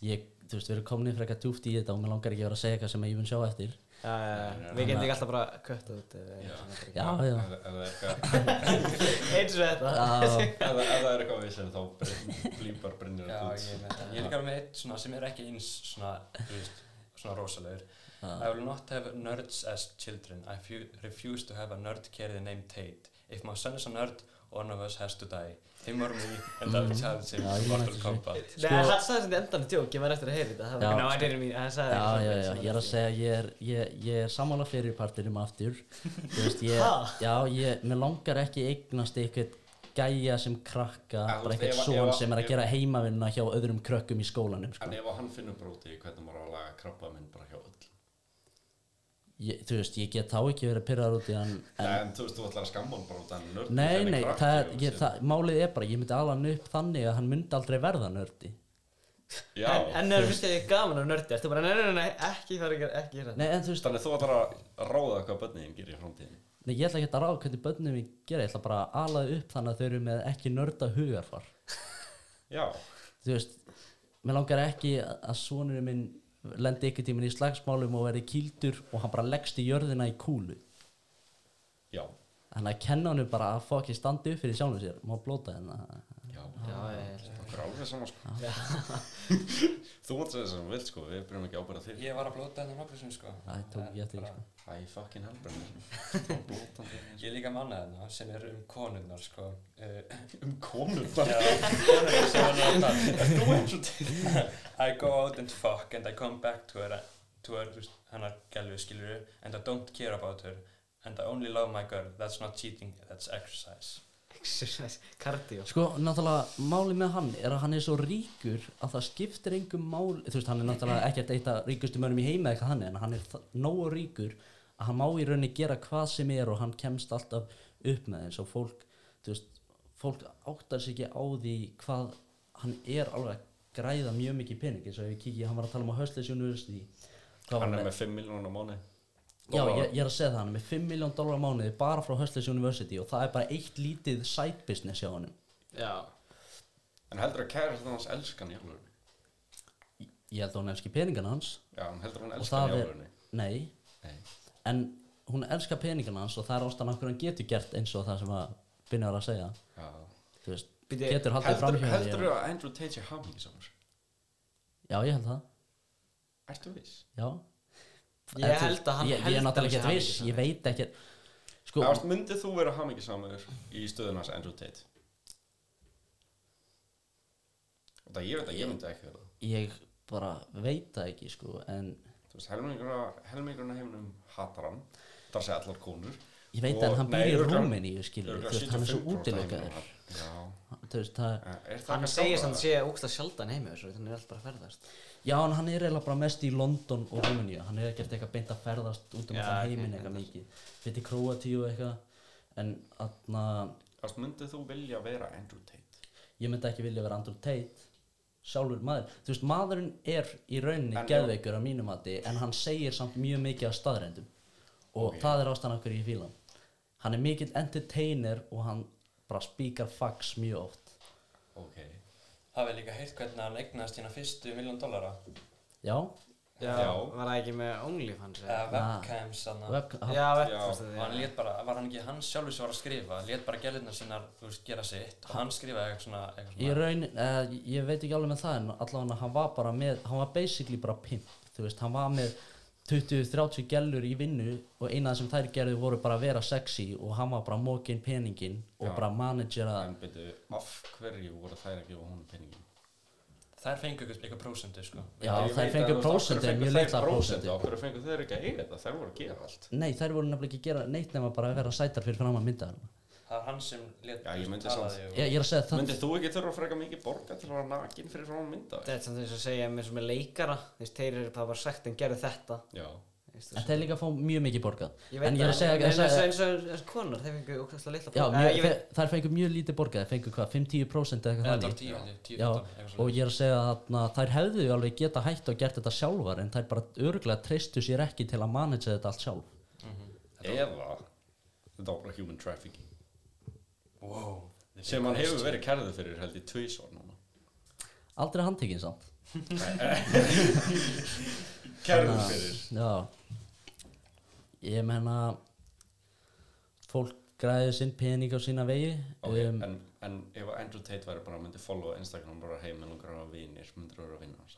Speaker 2: ég, þú veist, við erum komin frekar djúpt í þetta og mér langar ekki að vera að segja eitthvað sem ég mun sjá eftir
Speaker 3: Já, já, já. Við getum ekki alltaf bara köttað út eða eitthvað svona fyrir.
Speaker 2: Já, já,
Speaker 1: Ef ef það er eitthvað-
Speaker 3: Eins og þetta
Speaker 2: já,
Speaker 1: ef það- ef það er eitthvað vissin þá brinn- blípar brinnir
Speaker 4: Já,
Speaker 1: það út
Speaker 4: ég veit það. Ég er líka með eitt svona sem er ekki eins svona, þú veist, svona rosalegur.
Speaker 2: Ah.
Speaker 4: I will not have nerds as children. I fu- refuse to have a nerd carry the name Tate. If my son is a nerd, one of us has to die. Him or me, and I'll challenge him
Speaker 2: Já, ég
Speaker 4: in Mortal
Speaker 2: mætti þessu.
Speaker 4: Kombat.
Speaker 3: Nei, hann sagði þetta endan djók, ég var eftir að heyra þetta Það
Speaker 2: Sko- Já.
Speaker 3: var ná, þetta er mín, hann sagði
Speaker 2: já,
Speaker 3: þetta
Speaker 2: já,
Speaker 3: svona
Speaker 2: já,
Speaker 3: fyrir
Speaker 2: ég er að
Speaker 3: svona.
Speaker 2: segja ég er, ég, ég er sammála fyrir partinum aftur þú veist, ég,
Speaker 3: Ha?
Speaker 2: já, ég mér langar ekki eignast eitthvað gæja sem krakka,
Speaker 1: Já, þú
Speaker 2: bara
Speaker 1: veist,
Speaker 2: eitthvað
Speaker 1: ef að-
Speaker 2: són
Speaker 1: ef að-
Speaker 2: sem er að
Speaker 1: ef-
Speaker 2: gera heimavinna hjá öðrum krökkum í skólanum sko.
Speaker 1: En ef hann finnur bróti hvernig maður á að laga krabba minn bara hjá öll
Speaker 2: ég, þú veist, ég get þá ekki verið að pyrraða út í hann en
Speaker 1: En þú veist, þú ætlar að skamma hann bara út af nörd
Speaker 2: Nei, nei, það er, ég, það, málið er bara, ég myndi ala hann upp þannig að hann myndi aldrei verða nördi.
Speaker 1: Já,
Speaker 3: En, en er fyrst að ég gaman af nördi Ertu bara, nei, nei, nei, nei, ekki fara ykkur, ekki hérna
Speaker 2: Nei, en þú veist,
Speaker 1: þannig þú ætlar að ráða hvað börniðin gerir í framtíðin
Speaker 2: nei, ég ætla ekki að ráða hvernig börnum ég gera, ég ætla bara að ala þau upp þannig að þau eru með ekki nörda hugarfar.
Speaker 1: Já,
Speaker 2: Þú veist, mér langar ekki að- að sonurinn minn lendi ykkur tíminn í slagsmálum og verði kýldur og hann bara leggst í jörðina í kúlu.
Speaker 1: já,
Speaker 2: Þannig að kenna hann bara að fá ekki standi upp fyrir sjálfum sér, má blóta hérna. henn
Speaker 1: já
Speaker 3: Já, ég,
Speaker 1: Okkur er alveg saman sko Þú mátt segja sem þú vilt sko, við byrjum ekki ábæra þig
Speaker 4: Ég var að blóta þetta nokkuð sem, sko.
Speaker 2: Það tók ég eftir,
Speaker 4: Bara-
Speaker 2: sko.
Speaker 1: Æ, fucking hell, brennir Blótan
Speaker 4: Ég er líka manna þarna sem er um konurnar, sko. Uh,
Speaker 1: Um konurnar
Speaker 4: Já, konurnar sem var náttúrulega. Þú eins og til. I go out and fuck and I come back to her, to her, þú veist, hennar gælu, skilur and I don't care about her, and I only love my girl, that's not cheating, that's exercise.
Speaker 3: Exercise, cardio
Speaker 2: Sko, náttúrulega, málið með hann er að hann er svo ríkur að það skiptir engum máli, þú veist, hann er náttúrulega ekkert eitt af ríkustu mönnum í heima eða eitthvað hann er, en hann er það- nógu ríkur að hann má í rauninni gera hvað sem er og hann kemst alltaf upp með eins og fólk, þú veist, fólk áttar sig ekki á því hvað hann er alveg að græða mjög mikið pening, eins og ef ég kikið, hann var að tala um að höstleys university, hvað var
Speaker 1: Hann er með 5 miljónum á mánu
Speaker 2: Já, ég, ég er að segja það, hann er með 5 miljón dólar á mánuði bara frá Höstleys University og það er bara eitt lítið side business hjá honum.
Speaker 3: Já
Speaker 1: En heldur að kæra þetta hans elskan í alveg
Speaker 2: Ég held að hún elski peningana hans.
Speaker 1: Já, hann heldur að hann
Speaker 2: og
Speaker 1: elskan
Speaker 2: það
Speaker 1: í
Speaker 2: er,
Speaker 1: alveg
Speaker 2: nei
Speaker 1: Nei.
Speaker 2: en hún elskar peningana hans og það er ástæðan af hverju hann getur gert eins og það sem að Binni var að segja
Speaker 1: Já
Speaker 2: Þú veist,
Speaker 3: Bíddu,
Speaker 2: getur haldið fram
Speaker 1: Heldur
Speaker 2: hjá því
Speaker 1: heldur að Andrew Tate sé hamingisamur
Speaker 2: já ég held það,
Speaker 1: Ertu viss?
Speaker 2: já
Speaker 3: Ég
Speaker 2: En þú-
Speaker 3: held að hann-
Speaker 2: ég, ég er
Speaker 3: held að hann
Speaker 2: náttúrulega
Speaker 3: sé
Speaker 2: ekki viss, ég veit ekki sko,
Speaker 1: Ást, myndið þú vera hamingisamur í stöðun hans Andrew Tate? Og það ég veit að ég myndi ekki vera það
Speaker 2: ég bara veit það ekki sko, en
Speaker 1: Þú veist, helmingurna, helmingurna heiminum hatar hann Það er að segja allar konur
Speaker 2: ég veit
Speaker 1: Og-
Speaker 2: að hann
Speaker 1: nei,
Speaker 2: býr í
Speaker 1: örugglega-
Speaker 2: Rúmeni ég skilur,
Speaker 1: Örugglega
Speaker 2: þú veist, hann er svo
Speaker 1: 75%
Speaker 2: útilokaður
Speaker 1: heiminum hatar- Já
Speaker 2: þú veist, það,
Speaker 1: En er það
Speaker 3: Hann
Speaker 1: ekki að
Speaker 3: segir
Speaker 1: sjá
Speaker 3: samt
Speaker 1: það?
Speaker 3: sé úkst að sjaldan heimi þessu Þannig er alltaf bara að ferðast
Speaker 2: já, en hann er eiginlega bara mest í London og Rúmeni, hann er ekkert eitthvað beint að ferðast út um
Speaker 3: Já,
Speaker 2: allan
Speaker 3: ok,
Speaker 2: heiminn eitthvað mikið fyrir Kroatíu eitthvað en aðna,
Speaker 1: Ást, myndið þú vilja vera Andrew Tate?
Speaker 2: ég myndi ekki vilja vera Andrew Tate sjálfur maður, þú veist maðurinn er í rauninni
Speaker 1: En-
Speaker 2: geðveikur að mínum mati en hann segir samt mjög mikið af staðrendum og það er ástæðan af hverju ég fíla hann hann er mikill entertainer og hann bara spíkar fax mjög oft
Speaker 1: Ok
Speaker 4: Hafið líka heyrt hvernig hann eignast hérna fyrstu miljón dollara
Speaker 2: já,
Speaker 3: Já
Speaker 1: Já.
Speaker 3: Var það ekki með OnlyFans eða?
Speaker 4: eða webcams þarna
Speaker 2: Ah. web,
Speaker 3: Já, veit,
Speaker 1: Já.
Speaker 3: fórstu
Speaker 4: og
Speaker 3: því
Speaker 4: hann lét bara, var hann ekki hann sjálfur sem var að skrifa lét bara gælunar sínar, þú veist, gera sitt og hann skrifaði eitthvað svona, eitthvað
Speaker 2: ég,
Speaker 4: svona
Speaker 2: raun, uh, ég veit ekki alveg með það en allavega hann var bara með hann var basically bara pimp þú veist, hann var með 20-30 gellur í vinnu og eina sem þær gerðu voru bara að vera sexy og hann var bara mókin peningin og
Speaker 1: Já.
Speaker 2: bara managera
Speaker 1: En byrju, af hverju voru þær að gefa honum peningin?
Speaker 4: Þær fengu eitthvað, eitthvað prósendu sko
Speaker 2: Já,
Speaker 1: Ég
Speaker 2: þær
Speaker 1: veit
Speaker 2: fengu
Speaker 1: að, þú veist, af hverju
Speaker 2: prósentu, en
Speaker 1: fengu
Speaker 2: mjög
Speaker 1: þær
Speaker 2: litla prósentu.
Speaker 1: Af hverju fengu þeir ekki að eiga þetta? Þær voru að gera allt
Speaker 2: Nei, þær voru nefnilega ekki að gera neitt nema bara að vera sætar fyrir fram að mynda þarna
Speaker 4: Það var hann sem let,
Speaker 1: Já, ég myndi
Speaker 4: talaði og
Speaker 2: ég, ég er að segja það
Speaker 1: Myndið þú ekki þurfa að freka mikið borga til að vera nakin fyrir frá mynda?
Speaker 3: Þetta er samt eins og að segja mér sem er leikara Þú veist, þeir eru bara sagt en gerðu þetta
Speaker 1: Já,
Speaker 3: Þú veist,
Speaker 2: En þeir líka fá mjög mikið borgað
Speaker 3: Ég veit
Speaker 2: En ég er að segja, ég er að segja
Speaker 3: eins og eins og konur, þeir fengu ókvæmstlega litla
Speaker 2: Já,
Speaker 3: próf-
Speaker 2: mjög,
Speaker 3: Eh, ég
Speaker 2: þeir, þær fengu mjög lítið borgað Þeir fengu hvað, 5-10% eða eitthvað
Speaker 4: Þetta var
Speaker 2: þannig
Speaker 4: tíu held ég, tíu
Speaker 2: Já,
Speaker 4: fimmtán, eitthvað
Speaker 2: og ég
Speaker 4: svoleiðis.
Speaker 2: er að segja að þær hefðu alveg geta hægt og gert þetta sjálfar en þær bara örgulega treystu sér ekki til að manage þetta allt sjálf
Speaker 4: Mhm.
Speaker 1: eða þetta var bara human trafficking
Speaker 4: Wow
Speaker 1: sem hann hefur verið kærðið fyrir held ég tvísvar núna
Speaker 2: Aldrei handtekinn samt
Speaker 1: Kærðið fyrir
Speaker 2: Já Ég menna fólk græði sinn pening á sína vegi
Speaker 1: Ok,
Speaker 2: um,
Speaker 1: en, en ef Andrew Tate væri bara myndi followa Instagram bara heim með langar að vinir myndir að vera að vinna hans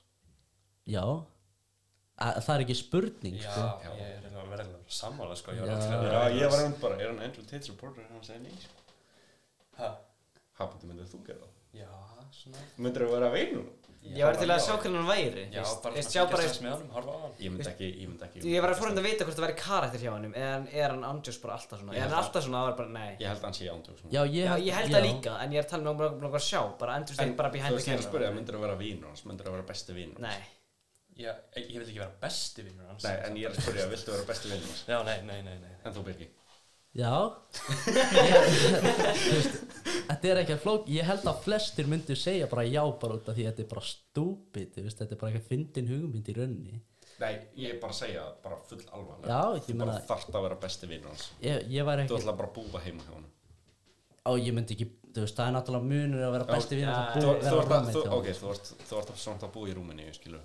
Speaker 2: Já A, Það er ekki spurning
Speaker 4: Já,
Speaker 2: sko.
Speaker 4: ég er eiginlega að verða að sammála sko
Speaker 2: Já.
Speaker 1: Já, ég var einmitt bara, er hann Andrew Tate supporter hann segir nýs
Speaker 4: Hæ?
Speaker 1: Hafandi myndið þú gera það
Speaker 4: Já, svona
Speaker 1: Myndir að vera að vinna
Speaker 3: Ég var til að sjá hvernig hann væri
Speaker 4: Já,
Speaker 3: veist,
Speaker 4: bara
Speaker 3: veist,
Speaker 4: svona
Speaker 3: sjá bara
Speaker 4: fylgjast aðeins með honum, horfa á hann
Speaker 1: Ég myndi ekki, ég myndi ekki
Speaker 3: Ég var að fórhund að vita hvort það væri karakter hjá honum En er hann andjós bara alltaf svona
Speaker 1: Ég
Speaker 3: Er hann
Speaker 1: held
Speaker 3: alltaf svona, það var bara, nei
Speaker 1: Ég held að hann sé ándjóks
Speaker 2: Já, ég,
Speaker 3: Já, ég held
Speaker 2: já.
Speaker 3: það líka, en ég er talað um að langar að sjá Bara endur stein, bara behind
Speaker 1: Þú
Speaker 3: the
Speaker 1: veist, ég er að spyrja,
Speaker 3: camera
Speaker 1: myndir að vera vinur hans, myndir að vera besti vinur hans
Speaker 3: Nei,
Speaker 4: Já, ég, ég vil ekki vera besti vinnur hans
Speaker 1: Nei, en ég er að spyrja, viltu vera besti vinur hans?
Speaker 4: Já, nei, nei, nei, nei
Speaker 1: En þú Birgi?
Speaker 2: Já Ég- þú veist, Þetta er ekki að flók Ég held að flestir myndu segja bara já bara út af því að þetta er bara stúpid þú veist, Þetta er bara eitthvað fyndin hugmynd í raunni
Speaker 1: Nei, ég er bara að segja það, bara full alvarlega
Speaker 2: Já, ég
Speaker 1: Þú
Speaker 2: meina-
Speaker 1: bara þarft að vera besti vinur hans
Speaker 2: Ég, ég væri
Speaker 1: Þú
Speaker 2: ekki
Speaker 1: ætla bara að búa heima hjá honum
Speaker 2: á, ég myndi ekki, þú veist, það er náttúrulega munur að vera besti vina
Speaker 3: Já,
Speaker 2: og
Speaker 1: Þú
Speaker 2: bú-
Speaker 1: þú ert
Speaker 2: vera
Speaker 1: að,
Speaker 2: roommate
Speaker 1: þú,
Speaker 2: hjá
Speaker 1: ok, þú ert, þú ert samt að búa í rúminni, ég skilu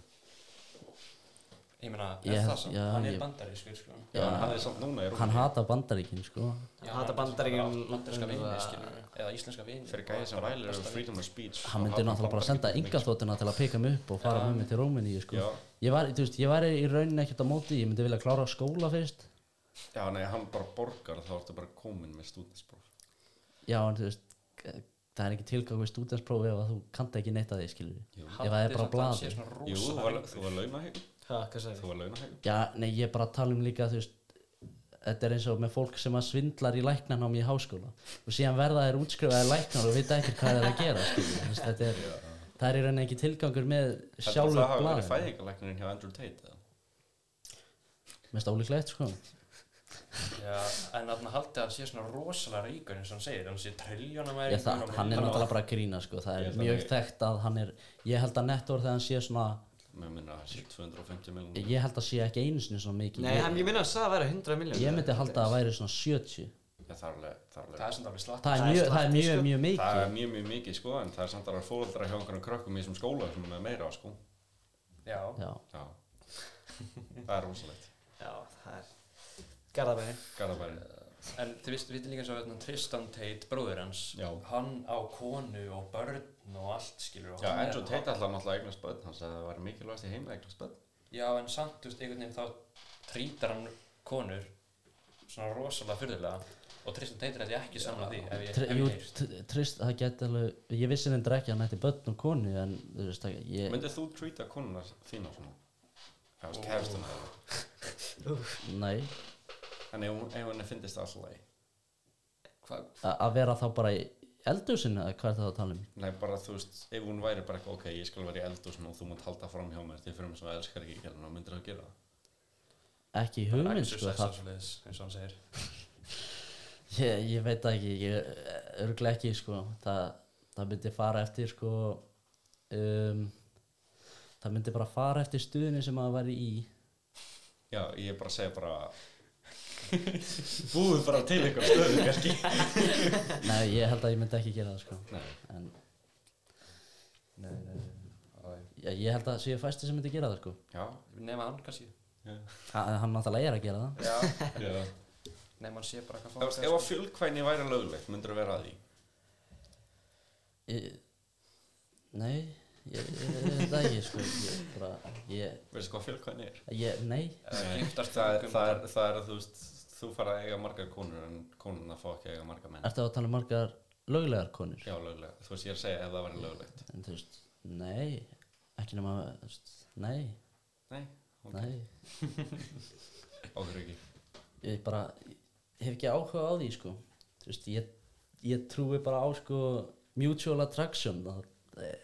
Speaker 4: Ég meina, er
Speaker 2: Ég-
Speaker 4: það samt?
Speaker 2: já,
Speaker 4: hann er
Speaker 2: ég-
Speaker 4: bandarískur, sko
Speaker 1: Já, en hann er samt núna í
Speaker 2: Hann
Speaker 1: rúminni
Speaker 2: hata bandaríkin, sko
Speaker 4: Já,
Speaker 3: hata
Speaker 4: hann-
Speaker 3: Bandaríkin-
Speaker 4: Bandaríska vini,
Speaker 3: Eða-
Speaker 4: skilur Eða íslenska vini
Speaker 1: Fyrir gæði sem vælir um freedom of speech
Speaker 2: Hann myndi náttúrulega bara senda engaþóttina til að peka mig upp og fara
Speaker 4: Já.
Speaker 2: með mig til Róminíu, sko
Speaker 1: Já,
Speaker 2: Ég var, þú veist, ég væri í rauninni ekkert á móti Ég myndi vilja klára skóla fyrst
Speaker 1: já, nei, hann bara borgar þá ertu bara komin með stúdenspróf
Speaker 2: Já, en þú veist, það er ekki tilgang við stúdensprófi ef að þú kanta ekki neitt að þið skilur
Speaker 1: Jú.
Speaker 2: Ef það er bara blaði
Speaker 1: Jú, þú var, þú var launahegum
Speaker 3: ha, hvað sagði
Speaker 1: Þú var launahegum
Speaker 2: Já, nei, ég er bara að tala um líka, þú veist Þetta er eins og með fólk sem að svindlar í læknarnámi í háskóla og síðan verða þær útskrifaðir læknar og vita ekkert hvað þær eru að gera skilur, þú veist, þetta er, það er í rauninni ekki tilgangur með
Speaker 1: Það
Speaker 2: sjálfur
Speaker 1: hafa verið
Speaker 2: blaðið
Speaker 1: fæðingalæknirinn hjá Andrew Tate eða?
Speaker 2: mest ólíklegt sko
Speaker 4: Já, en hann haldi að hann sé svona rosalega ríkur eins og hann segir, hann sé
Speaker 2: ég,
Speaker 4: triljónamæringur
Speaker 2: það, hann er náttúrulega bara að grína sko það
Speaker 1: Ég
Speaker 2: er
Speaker 1: held að
Speaker 2: mjög
Speaker 1: hann-
Speaker 2: þekkt að hann er ég held að nettor þegar hann sé svona
Speaker 1: Mér minna að það sé 250 miljonum
Speaker 2: ég held að sé ekki einu sinni svona mikið
Speaker 3: Nei, hann, ég minna að það að vera 100 miljón
Speaker 2: ég, ég myndi halda að það væri svona 70
Speaker 1: Það er alveg, það er alveg
Speaker 4: Það er sem það er slatt
Speaker 2: það
Speaker 3: Það
Speaker 2: er
Speaker 3: er
Speaker 2: mjög, það er
Speaker 3: slatti,
Speaker 2: mjög,
Speaker 3: sko.
Speaker 2: mjög
Speaker 1: Það
Speaker 2: mikið
Speaker 1: er mjög, mjög mikið sko, en það er samt alveg fóreldra hjá einhvern krökkum í þessum skóla sem er meira á sko.
Speaker 4: Já,
Speaker 2: já,
Speaker 1: Já. það er rosalegt.
Speaker 3: Já, það er Garðabæri
Speaker 1: Garðabæri.
Speaker 4: en þið vist, vitið líka svo að Tristan Tate, bróður hans
Speaker 1: Já.
Speaker 4: Hann á konu og börn og allt, skilur og
Speaker 1: Já,
Speaker 4: hann er-
Speaker 1: Andrew Tate alltaf náttúrulega eignast börn, hann sagði að það var mikilvægast í heima að eignast börn.
Speaker 4: Já, en samt, þú veist, einhvern veginn þá trítar hann konur svona rosalega fyrðulega og Tristan Tate er þetta ekki samla því ef ég,
Speaker 2: Tr-
Speaker 4: ef
Speaker 2: jú,
Speaker 4: ég heyrt
Speaker 2: tr- trist, það geti alveg ég vissi þetta ekki að hann ætti börn og konu en þú veist það, ég,
Speaker 1: Myndið þú treata konuna þína svona? Það veist, kæfstuna þeirra.
Speaker 2: nei
Speaker 1: En ef, hún- ef henni finnist það alltaf leið?
Speaker 4: Hvað,
Speaker 2: A- að vera þá bara í eldhúsinu eða hvað er það að tala um
Speaker 1: Nei, bara þú veist, ef hún væri bara eitthvað, ok, ég skal vera í eldhúsinu og þú mátt halda fram hjá mér til fyrir mig sem þú elskar ekki gerðin og myndir þú gera það?
Speaker 2: ekki hugmynd sko,
Speaker 4: exercise
Speaker 2: það
Speaker 4: og svoleiðis, eins og hann segir
Speaker 2: Ég, ég veit það ekki, ég örglega ekki sko, það, það myndi fara eftir sko, um, það myndi bara fara eftir stuðinu sem maður væri í.
Speaker 1: Já, ég er bara að segja bara, búið bara til eitthvað stöðu kannski.
Speaker 2: Nei, ég held að ég myndi ekki gera það sko,
Speaker 1: Nei.
Speaker 2: en
Speaker 4: Nei, nei, nei
Speaker 2: ég, ég held að séu fæsti sem myndi gera það sko.
Speaker 1: Já,
Speaker 4: Nefna hann kannski
Speaker 1: já.
Speaker 2: Ha, hann náttúrulega er að gera það.
Speaker 4: Já,
Speaker 1: Já.
Speaker 4: nefna hann sé bara hvað
Speaker 1: Ef, ef að fjölkvæni væri löglegt, myndur þú vera að því?
Speaker 2: Ég, nei, ég, ég, ég veit það ekki sko ég bara ég,
Speaker 1: veistu hvað fjölkvæðin er?
Speaker 2: ég nei
Speaker 1: Nei, það, er- það, er, það er að þú veist þú fara að eiga margar konur en konuna fá ekki að eiga margar menn
Speaker 2: ertu að tala um margar löglegar konur
Speaker 1: já, löglega, þú veist ég er að segja ef það væri löglegt
Speaker 2: en þú veist nei ekki nema þú veist nei
Speaker 1: nei, ok,
Speaker 2: nei
Speaker 1: okkur ekki
Speaker 2: ég bara ég hef ekki áhuga á því sko þú veist ég ég trúi bara á sko mutual attraction það,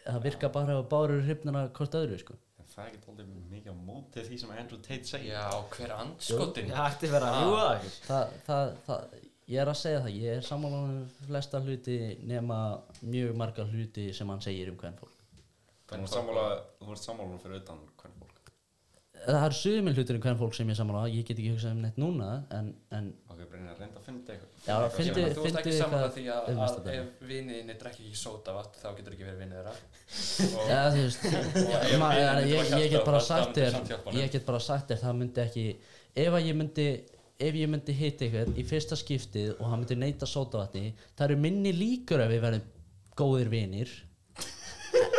Speaker 2: það virka bara ef báru hrifnina hvort öðru sko
Speaker 1: en það er ekki aldrei mikið á móti því sem Andrew Tate segir
Speaker 4: Já, hver er andskotin?
Speaker 3: Það ætti verið að ljúa það
Speaker 2: það, það, það, ég er að segja það ég er sammála um flesta hluti nema mjög marga hluti sem hann segir um hvern fólk
Speaker 1: þú ert sammála, þú ert sammála fyrir utan hvern fólk
Speaker 2: það er sögumil hlutir um hvern fólk sem ég er sammála ég get ekki hugsað um neitt núna en, en
Speaker 1: ok, Brynja, reynda að finna eitthvað
Speaker 2: Já,
Speaker 1: eitthvað sem
Speaker 2: fyndu-
Speaker 4: Ég meina, Þú ert
Speaker 2: fyndu
Speaker 4: ekki saman
Speaker 2: eitthvað
Speaker 4: því að,
Speaker 2: um næsta
Speaker 4: að
Speaker 2: dag.
Speaker 4: ef viniðinni drekki ekki sótavatt þá getur ekki verið vinið þeirra
Speaker 1: að-
Speaker 2: ja, þú veist,
Speaker 4: ef
Speaker 2: ma-
Speaker 4: við
Speaker 2: ég,
Speaker 4: myndum
Speaker 2: ég,
Speaker 4: að
Speaker 2: ég get
Speaker 4: hjálpa
Speaker 2: bara
Speaker 4: honum,
Speaker 2: sagt
Speaker 4: það myndi
Speaker 2: þér
Speaker 4: samt hjálpa honum.
Speaker 2: ég get bara sagt þér það myndi ekki ef að ég myndi ef ég myndi hitta eitthvað í fyrsta skiptið og hann myndi neyta sótavatni það eru minni líkur að við verðum góðir vinir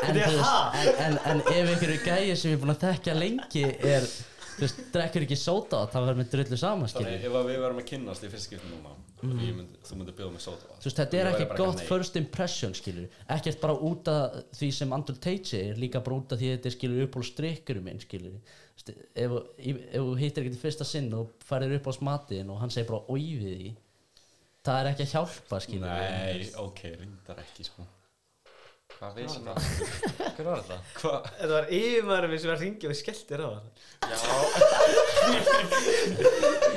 Speaker 2: en, þú veist, en, en, en ef einhverju gæi sem ég er búin að þekkja lengi er, þú veist, drekkur ekki sótavat það verður með drullu samanskili
Speaker 1: Þannig ef að við verðum að kynnast í fyrst skipti núna og ég myndi, þú myndir bjóða mig sóta
Speaker 2: Mm. þú veist, þetta er
Speaker 1: Ég væri
Speaker 2: ekki
Speaker 1: bara
Speaker 2: gott
Speaker 1: nei.
Speaker 2: first impression, skilur ekkert bara út af því sem Andrew Tate segir líka bara út af því að þetta er, skilur uppáhalds drikkurum minn, skilur Þú veist, ef ef- ef þú hittir ekkert í fyrsta sinn og færir uppáhalds matinn og hann segir bara oi við því það er ekki að hjálpa, skilur
Speaker 1: Nei, ok, reyndar ekki sko Hvað veist það?
Speaker 4: Hver var þetta?
Speaker 1: Hvað?
Speaker 3: Þetta var yfirmaður minn sem var að ringja og skelltir á það
Speaker 4: Já,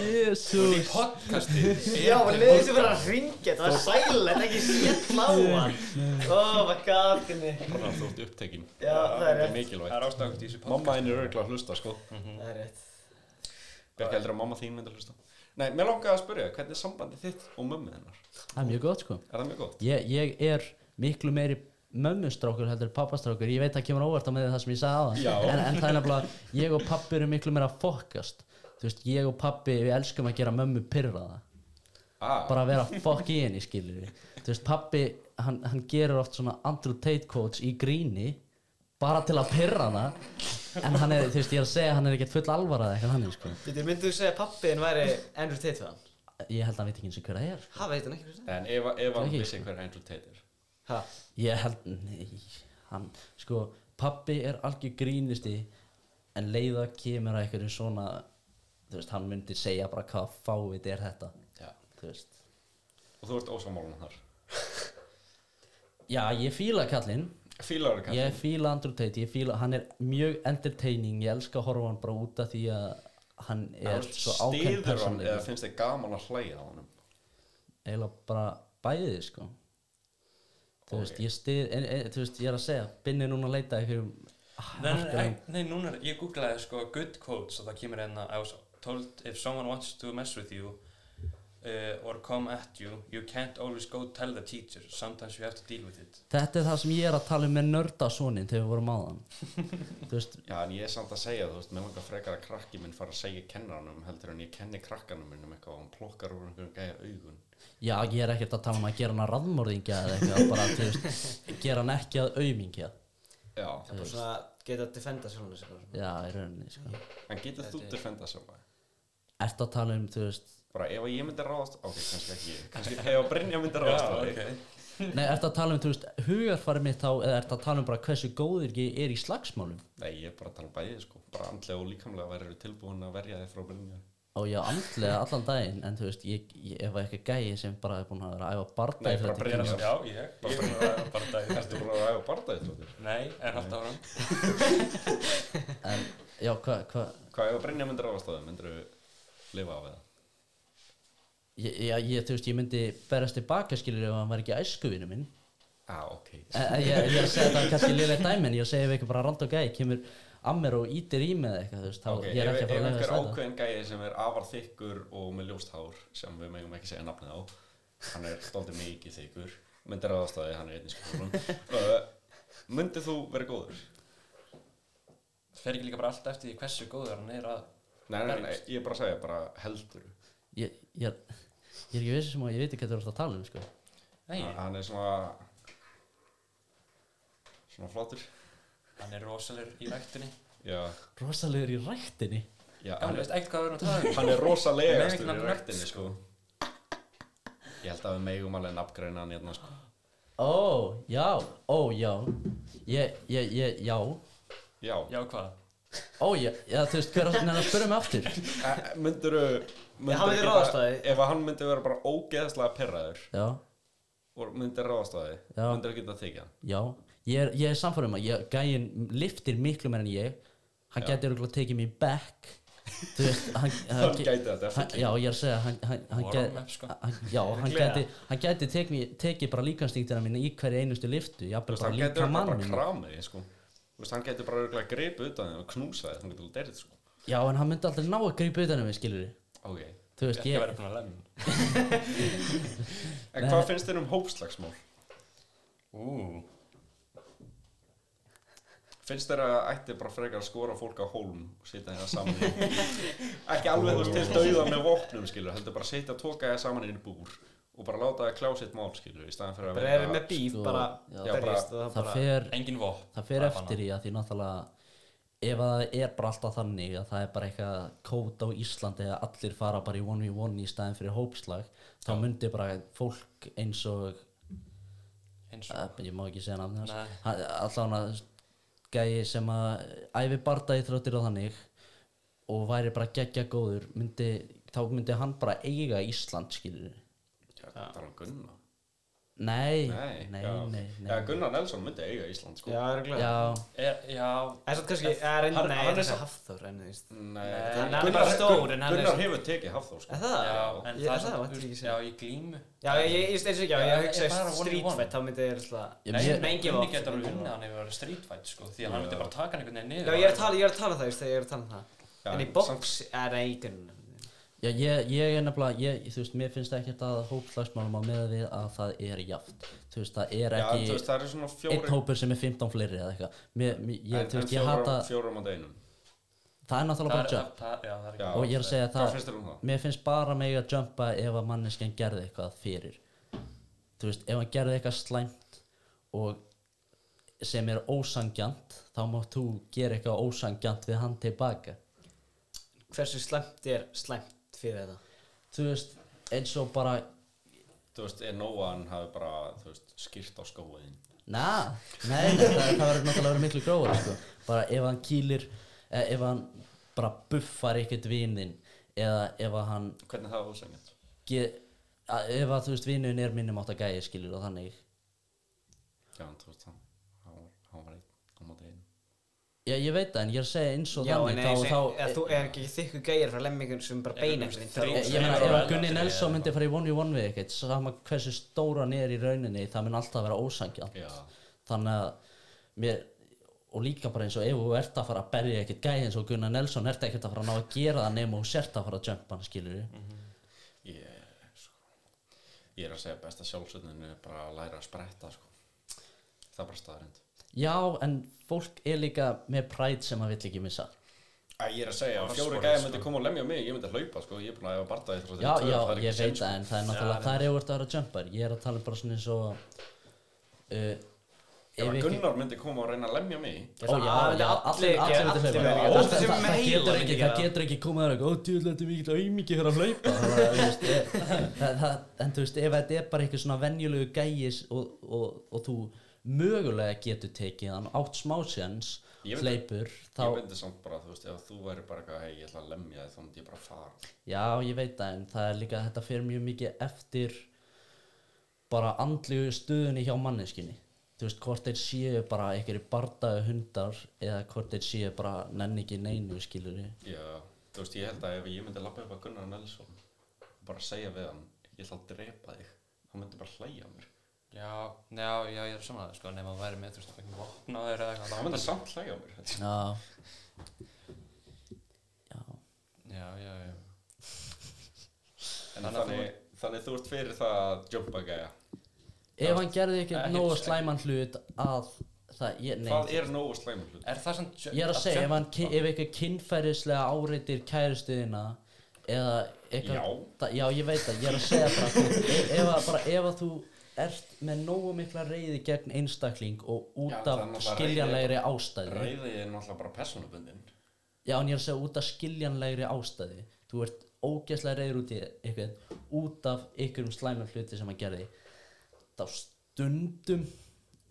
Speaker 2: Jesus
Speaker 4: í podcasti
Speaker 3: Já, maður leiði sem bara að ringja, það var sælet, ekki skell á hann Oh my god, finni
Speaker 1: Bara þú ert upptekinn
Speaker 3: Já, það er
Speaker 1: Þetta
Speaker 3: rétt,
Speaker 4: Það
Speaker 1: mikilvægt
Speaker 4: er ástæðan í þessu podcast
Speaker 1: Mamma henni er auðvitað að hlusta sko
Speaker 3: það er rétt
Speaker 1: Björk heldur að mamma þín myndi að hlusta Nei, mér langaði að spyrja, hvernig er sambandi þitt og mömmu hennar?
Speaker 2: það er mjög gott, sko
Speaker 1: Er það mjög gott?
Speaker 2: ég, ég er miklu meiri mömmustrákur heldur en pappastrákur ég veit að kemur óvart á með það sem ég sagði
Speaker 1: Já.
Speaker 2: aðan en, en það er nefnilega, ég og pappi eru miklu meira fokkast þú veist, ég og pappi, við elskum að gera mömmu pyrraða
Speaker 1: Ah,
Speaker 2: bara að vera fokk í henni, skilur við þú veist, pappi, hann, hann gerur oft svona Andrew Tate quotes í gríni bara til að pyrra hana en hann er, þú veist, ég er að segja að hann er ekkert full alvarað eitthvað hann, sko
Speaker 3: Býtur, myndu þú segja að pappiðin væri Andrew Tate við hann?
Speaker 2: ég held að hann veit ekki eins og hver það er sko.
Speaker 3: Ha, veit hann ekki hversu?
Speaker 1: En ef, ef hann
Speaker 2: Ekki.
Speaker 1: vissi hver Andrew Tate er
Speaker 3: Ha,
Speaker 2: ég held, nei, hann sko, pappi er algjör grínisti en leiða kemur að einhverju svona þú veist, hann myndi segja bara hvað fávit er þetta
Speaker 1: Já.
Speaker 2: þú veist,
Speaker 1: Og þú ert ósamálun þar
Speaker 2: já, ég fíla kallinn
Speaker 1: Fílar kannski
Speaker 2: Ég fíla Andrew Tate, ég fíla, hann er mjög entertaining, ég elska að horfa á hann bara út af því að hann er svo
Speaker 1: Stýður
Speaker 2: ákveðin
Speaker 1: hann eða
Speaker 2: persónleik
Speaker 1: finnst þið gaman að hlæja á hann
Speaker 2: eiginlega bara bæðið sko þú veist, ég stið, en, en, þú veist, ég er að segja Binni er núna að leita að einhverjum
Speaker 4: Nei, nei,
Speaker 2: harkalegum-
Speaker 4: nei, nei, núna, er- ég googlaði sko good quotes og það kemur hérna I was told if someone wants to mess with you uh, or come at you you can't always go tell the teacher sometimes you have to deal with it
Speaker 2: Þetta er það sem ég er að tala um með nördasónin þegar við vorum á þann Þú veist,
Speaker 1: Já, en ég er samt að segja, þú veist, mér langar frekar að krakki minn fara að segja kennaranum heldur en ég kenni krakkanum minn um eitthvað og hann plokkar úr einhverjum gæja augun.
Speaker 2: já ég er ekkert að tala um að gera hann að raðmörðingja eða eitthvað bara, þú veist, gera hann ekki að aumingja
Speaker 1: Já.
Speaker 3: það er bara svona að geta að defenda sjálfum sér bara svona.
Speaker 2: Já, í rauninni sko
Speaker 1: En getur þú defenda sjálfa? þig?
Speaker 2: Ertu að tala um, þú veist,
Speaker 1: Bara ef að ég myndi ráðast, ok, kannski ekki ég, kannski ef að Brynja myndi ráðast á þig.
Speaker 2: Nei, ertu að tala um, þú veist, hugarfarið mitt þá eða ertu að tala um bara hversu góðir ég er í slagsmálum
Speaker 1: Nei, ég er bara að tala bæðið, sko, bara andlega og líkamlega verður tilbúin að verja þig frá Brynja.
Speaker 2: og ég á andlega allan daginn en þú veist, ég, ég, ef það er eitthvað gæi sem bara er búin að vera að æfa barna
Speaker 1: Nei, bara Brynja.
Speaker 4: Já, ég, ég er bara að bara dæði
Speaker 1: Ertu búin að ræða bardaðið þróttir?
Speaker 4: Nei, en halda áram
Speaker 2: en, Já, hvað, hva,
Speaker 1: Hvað ef að Brynja myndi ráðast á þig, myndir þú lifa af það?
Speaker 2: ég, ég, ég, þú veist, ég myndi berast tilbaka skilur ef hann var ekki æskuvinu minn
Speaker 1: Ah, ok.
Speaker 2: en, en ég, ég er að segja það er kannski liðlega dæmi en ég er að segja ef eitthvað bara rand og gæi kemur að mér og ítir í með eitthvað, þú veist, þá
Speaker 1: Ok, ef,
Speaker 2: ég er ekki
Speaker 1: ef
Speaker 2: að fara að
Speaker 1: einhver
Speaker 2: leiðast þetta
Speaker 1: ákveðin gæði sem er afar þykkur og með ljóst hár sem við megum ekki segja nafnið á hann er stoltið mikið þykkur myndir aðastæði, hann er einnig skólum uh, myndir þú verið góður?
Speaker 4: Fer ekki líka bara allt eftir því hversu góður hann er að
Speaker 1: Nei, nei, nei, ég er bara að segja, bara heldur
Speaker 2: ég, ég, er- ég er ekki vissi sem að ég veit ekki hvað þú ert að tala um, sko
Speaker 4: Nei,
Speaker 1: hann er svona svona flottur
Speaker 4: hann er rosalegur í vektinni
Speaker 1: Já,
Speaker 2: Rosalegur í ræktinni
Speaker 1: já
Speaker 4: hann
Speaker 1: hann,
Speaker 4: veist ekkert hvað við erum að tala um
Speaker 1: hann er
Speaker 4: Ég
Speaker 1: rosalegastur
Speaker 4: meina
Speaker 1: í
Speaker 4: ekki
Speaker 1: ræktinni sko Ég held að við megum alveg nafngreina hann hérna sko
Speaker 2: Ó, já, ó, já Ég, ég, ég, já
Speaker 1: Já,
Speaker 4: já hvað,
Speaker 2: Ó, já, já þú veist, hver er að spyrja mig aftur?
Speaker 1: Eh, myndirðu myndirðu
Speaker 3: hann myndi
Speaker 1: geta-
Speaker 3: ráðast á þig.
Speaker 1: Ef að hann myndi vera bara ógeðslega perraður
Speaker 2: Já,
Speaker 1: og myndir ráðast á þig
Speaker 2: Já.
Speaker 1: myndir geta þykja hann
Speaker 2: já Ég er, ég er samfærum að ég, gæin liftir miklu meir en ég Hann
Speaker 1: Já.
Speaker 2: gæti örugglega að tekið mig back Þú veist, hann,
Speaker 1: Hann gæti þetta,
Speaker 2: hann, Já, ég er að segja, hann, hann, hann
Speaker 4: warm
Speaker 2: gæti
Speaker 4: up sko
Speaker 2: hann, Já, hann
Speaker 3: Líklega.
Speaker 2: gæti, hann gæti tekið mig- tekið bara líkanstíktina mína í hverju einustu liftu
Speaker 1: Þú
Speaker 2: Jafnvel
Speaker 1: veist,
Speaker 2: bara
Speaker 1: hann getur
Speaker 2: líka
Speaker 1: örugglega bara
Speaker 2: mannum
Speaker 1: kramið þig, sko Þú veist, hann getur bara örgulega greipið utan þig og knúsað þig, hann getur alveg derið sko
Speaker 2: Já, en hann myndi alltaf ná að grípa utan um mig, skilur
Speaker 1: Ok,
Speaker 2: Þú veist,
Speaker 4: ekki
Speaker 2: ég,
Speaker 4: verið búin að lemn
Speaker 1: en hvað finnst þér um hópslagsmál?
Speaker 4: ú,
Speaker 1: Finnst þér að ætti bara frekar að skora fólk á hólm og sitja þeirra saman í ekki alveg þú veist til dauða með vopnum skilur, heldur bara sitja og tóka þeirra saman inn í búr og bara láta þeirra klá sitt mál skilur í staðan fyrir að
Speaker 3: bara erum með bíf,
Speaker 2: sko,
Speaker 3: bara
Speaker 2: já.
Speaker 1: Já, bara-
Speaker 3: berjist og
Speaker 2: það
Speaker 3: það bara
Speaker 2: fer
Speaker 4: engin vopn
Speaker 2: það fer eftir í að því náttúrulega ef að það er bara alltaf þannig að það er bara eitthvað kót á Íslandi að allir fara bara í 1v1 í staðin fyrir hópslag þá myndi bara fólk eins og
Speaker 4: eins og,
Speaker 2: að, ég má ekki segja nafni
Speaker 4: Nei.
Speaker 2: hans hann- allan að gæi sem að æfi barda í þrjóttir og þannig og væri bara geggja góður myndi, þá myndi hann bara eiga Ísland skilur
Speaker 1: það er hann Gunnar
Speaker 2: nei,
Speaker 1: Nei,
Speaker 2: nei,
Speaker 1: já.
Speaker 2: nei,
Speaker 1: Já,
Speaker 2: nei.
Speaker 1: Gunnar Nelson myndi eiga Ísland sko
Speaker 3: já, örgulega
Speaker 2: já,
Speaker 4: er, já,
Speaker 3: en svo kannski, er
Speaker 4: Hann-
Speaker 3: enn, nei,
Speaker 4: hann er
Speaker 3: hann er
Speaker 4: samt-
Speaker 3: svo hafþór en þú veist
Speaker 1: Nei,
Speaker 3: hann er
Speaker 1: Gunnar-
Speaker 3: bara stór, en hann er-
Speaker 1: Gunnar hefur tekið Hafþór sko
Speaker 3: er það?
Speaker 4: já, en
Speaker 3: Ég-
Speaker 4: það er
Speaker 3: er það,
Speaker 4: samt-
Speaker 3: væntir ekki
Speaker 4: já,
Speaker 3: sér
Speaker 4: í glímu
Speaker 3: já, ég, ég, eins og ekki, já,
Speaker 4: Já,
Speaker 3: ég
Speaker 4: ég-
Speaker 3: hugsa
Speaker 4: ég bara one v
Speaker 3: street
Speaker 4: one.
Speaker 3: fight, þá myndi ég ætla
Speaker 2: Ég-
Speaker 4: Nei,
Speaker 2: mér-
Speaker 4: menn
Speaker 3: mengi
Speaker 4: Gunni
Speaker 3: vopn.
Speaker 4: getur alveg unnað hann ef það verið street fight sko því að hann
Speaker 1: Já.
Speaker 4: myndi bara taka hann einhvern veginn
Speaker 3: já,
Speaker 4: niður
Speaker 3: ég er að tala, ég er að tala það, þú veist, ég er að tala um
Speaker 1: Já,
Speaker 3: það en í
Speaker 1: en
Speaker 3: box, er það eigun
Speaker 2: Já, ég, ég er nefnilega, ég, þú veist, mér finnst ekkert að hópslagsmálum á meða við að það er jaft. Þú veist, það er
Speaker 1: Já,
Speaker 2: ekki
Speaker 1: þú veist, það eru svona fjóri
Speaker 2: einn hópur sem er 15 fleiri eða eitthvað. Mér, mér, ég, þú veist, ég hata,
Speaker 1: Fjórum á deginum
Speaker 2: það er náttúrulega
Speaker 4: það
Speaker 2: bara
Speaker 4: er,
Speaker 2: jump.
Speaker 4: það, já, það er
Speaker 1: Já.
Speaker 4: ekki
Speaker 2: Og ég er að segja
Speaker 1: Hvað
Speaker 2: það,
Speaker 1: finnst þér um það?
Speaker 2: mér finnst bara mig að jumpa ef að manneskjan gerði eitthvað fyrir. Þú veist, ef hann gerði eitthvað slæmt og sem er ósangjant, þá mátt þú gera eitthvað ósangjant við hann tilbaka.
Speaker 3: hversu slæmt er slæmt fyrir þetta
Speaker 2: Þú veist, eins og bara,
Speaker 1: Þú veist, er Nóan hafi bara, þú veist, skýrt á skóiðin
Speaker 2: Na, nei, nei það, það verður náttúrulega verið miklu gróður sko. bara ef hann kýlir eh, ef hann bara buffar ekkert vinin eða ef að hann
Speaker 1: Hvernig það var ósengjant?
Speaker 2: ge, að, ef að þú veist vinin er minnum átt að gæja skilur og þannig
Speaker 1: Já, en þú veist, hann, hann var, hann var einn á móti einu
Speaker 2: Já, ég veit það en ég er að segja eins og
Speaker 3: já, en
Speaker 2: þannig
Speaker 3: nei, ég
Speaker 2: þá,
Speaker 3: segi-
Speaker 2: þá,
Speaker 3: eða þú er ekki þykku gæjar frá lemmingun sem bara beina
Speaker 4: þú veist,
Speaker 2: ég,
Speaker 4: þrjú-
Speaker 2: eh, ég meina ef að Gunni
Speaker 4: Eða-
Speaker 2: Nelson myndi fara í 1v1 við ekkert sama hversu stóra hann er í rauninni það mun alltaf vera ósangja
Speaker 1: Já,
Speaker 2: þannig að mér og líka bara eins og ef þú ert að fara að berja ekkert gæði eins og Gunnar Nelson ert ekkert að fara að ná að gera það nema þú sért að fara að jumpa hann skilur
Speaker 1: Mhm. ég, sko Ég er að segja besta sjálfsögninu er bara að læra að spretta, sko Það er bara staðarind
Speaker 2: já en fólk er líka með præd sem að vill ekki missa
Speaker 1: Æ, ég er að segja,
Speaker 4: Bara
Speaker 1: ef fjóri
Speaker 4: svoleiðis,
Speaker 1: gæði
Speaker 4: sko.
Speaker 1: myndi koma og lemja mig, ég myndi hlaupa, sko Ég er búin að hefa bardaði frá
Speaker 2: já
Speaker 1: þeirra tvö,
Speaker 2: já
Speaker 1: það er
Speaker 2: ég
Speaker 1: ekki sko.
Speaker 2: veit
Speaker 1: séns,
Speaker 2: það en það er náttúrulega það er ef þú ert að vera jumper ég er að tala bara svona eins og uh,
Speaker 1: Ef að
Speaker 2: ef ekki
Speaker 1: Gunnar myndi koma og reyna að lemja mig
Speaker 2: Ó, já, já, allir, allir,
Speaker 3: allir,
Speaker 2: allir,
Speaker 3: allir,
Speaker 1: allir-
Speaker 2: hlaupa. Það-
Speaker 1: allir-
Speaker 2: það-
Speaker 3: sem
Speaker 2: það
Speaker 3: heila
Speaker 2: getur
Speaker 3: myndi
Speaker 2: ekki,
Speaker 3: gera
Speaker 2: það
Speaker 3: það.
Speaker 2: getur ekki komið að ó, djúðlega, þetta er mikil aumingi fyrir að hlaupa Það var, þú veist, ég- það- það- en þú veist, ef þetta er bara eitthvað svona venjulegu gæis og, og, og þú mögulega getur tekið hann átt smásjans,
Speaker 1: Ég veit-
Speaker 2: hleypur þá,
Speaker 1: Ég myndi samt bara, þú veist, ef þú væri bara eitthvað, hei, ég ætla að lemja þig, þá myndi ég bara fara
Speaker 2: já, ég veit það en það er líka, þetta fer mjög mikið eftir bara andlegu stuðunni hjá manneskinni þú veist, hvort þeir séu bara einhverju bardaðu hundar eða hvort þeir séu bara nenni ekki neinu skilur
Speaker 1: Já, þú veist, ég held að ef ég myndi lappa upp að Gunnar Nelson og bara segja við hann, ég ætla að drepa þig hann myndi bara hlæja að mér
Speaker 4: já, já, já, ég er saman að það sko nema að væri með þú veist einhvern vopn á þeirra eða
Speaker 1: hann
Speaker 4: eitthvað
Speaker 1: myndi samt hlæja að mér
Speaker 2: Já Já
Speaker 4: já, já, já
Speaker 1: en þannig, þannig þú ert fyrir það að jumpa gæja
Speaker 2: Ef hann gerði ekki
Speaker 4: Ekki-
Speaker 2: nógu slæman hlut að það, ég, nei
Speaker 1: hvað er nógu slæmur hlut?
Speaker 4: er það samt
Speaker 2: Ég er að segja, ef, hann, ki- ef eitthvað kynferðislega áreitir kærustuðina eða eitthvað
Speaker 1: Já.
Speaker 2: það- já, ég veit það, ég er að segja e- bara þú- ef, ef, að bara, ef að þú ert með nógu mikla reyði gegn einstakling og út
Speaker 1: Já,
Speaker 2: af
Speaker 1: þannig að bara
Speaker 2: skiljanlegri ástæði
Speaker 1: Reyði er náttúrulega bara personabundin
Speaker 2: Já, en ég er að segja út af skiljanlegri ástæði Þú ert ógeðslega reyður út í eitthvað Út af einhverjum slæmum hluti sem hann gerði Þá stundum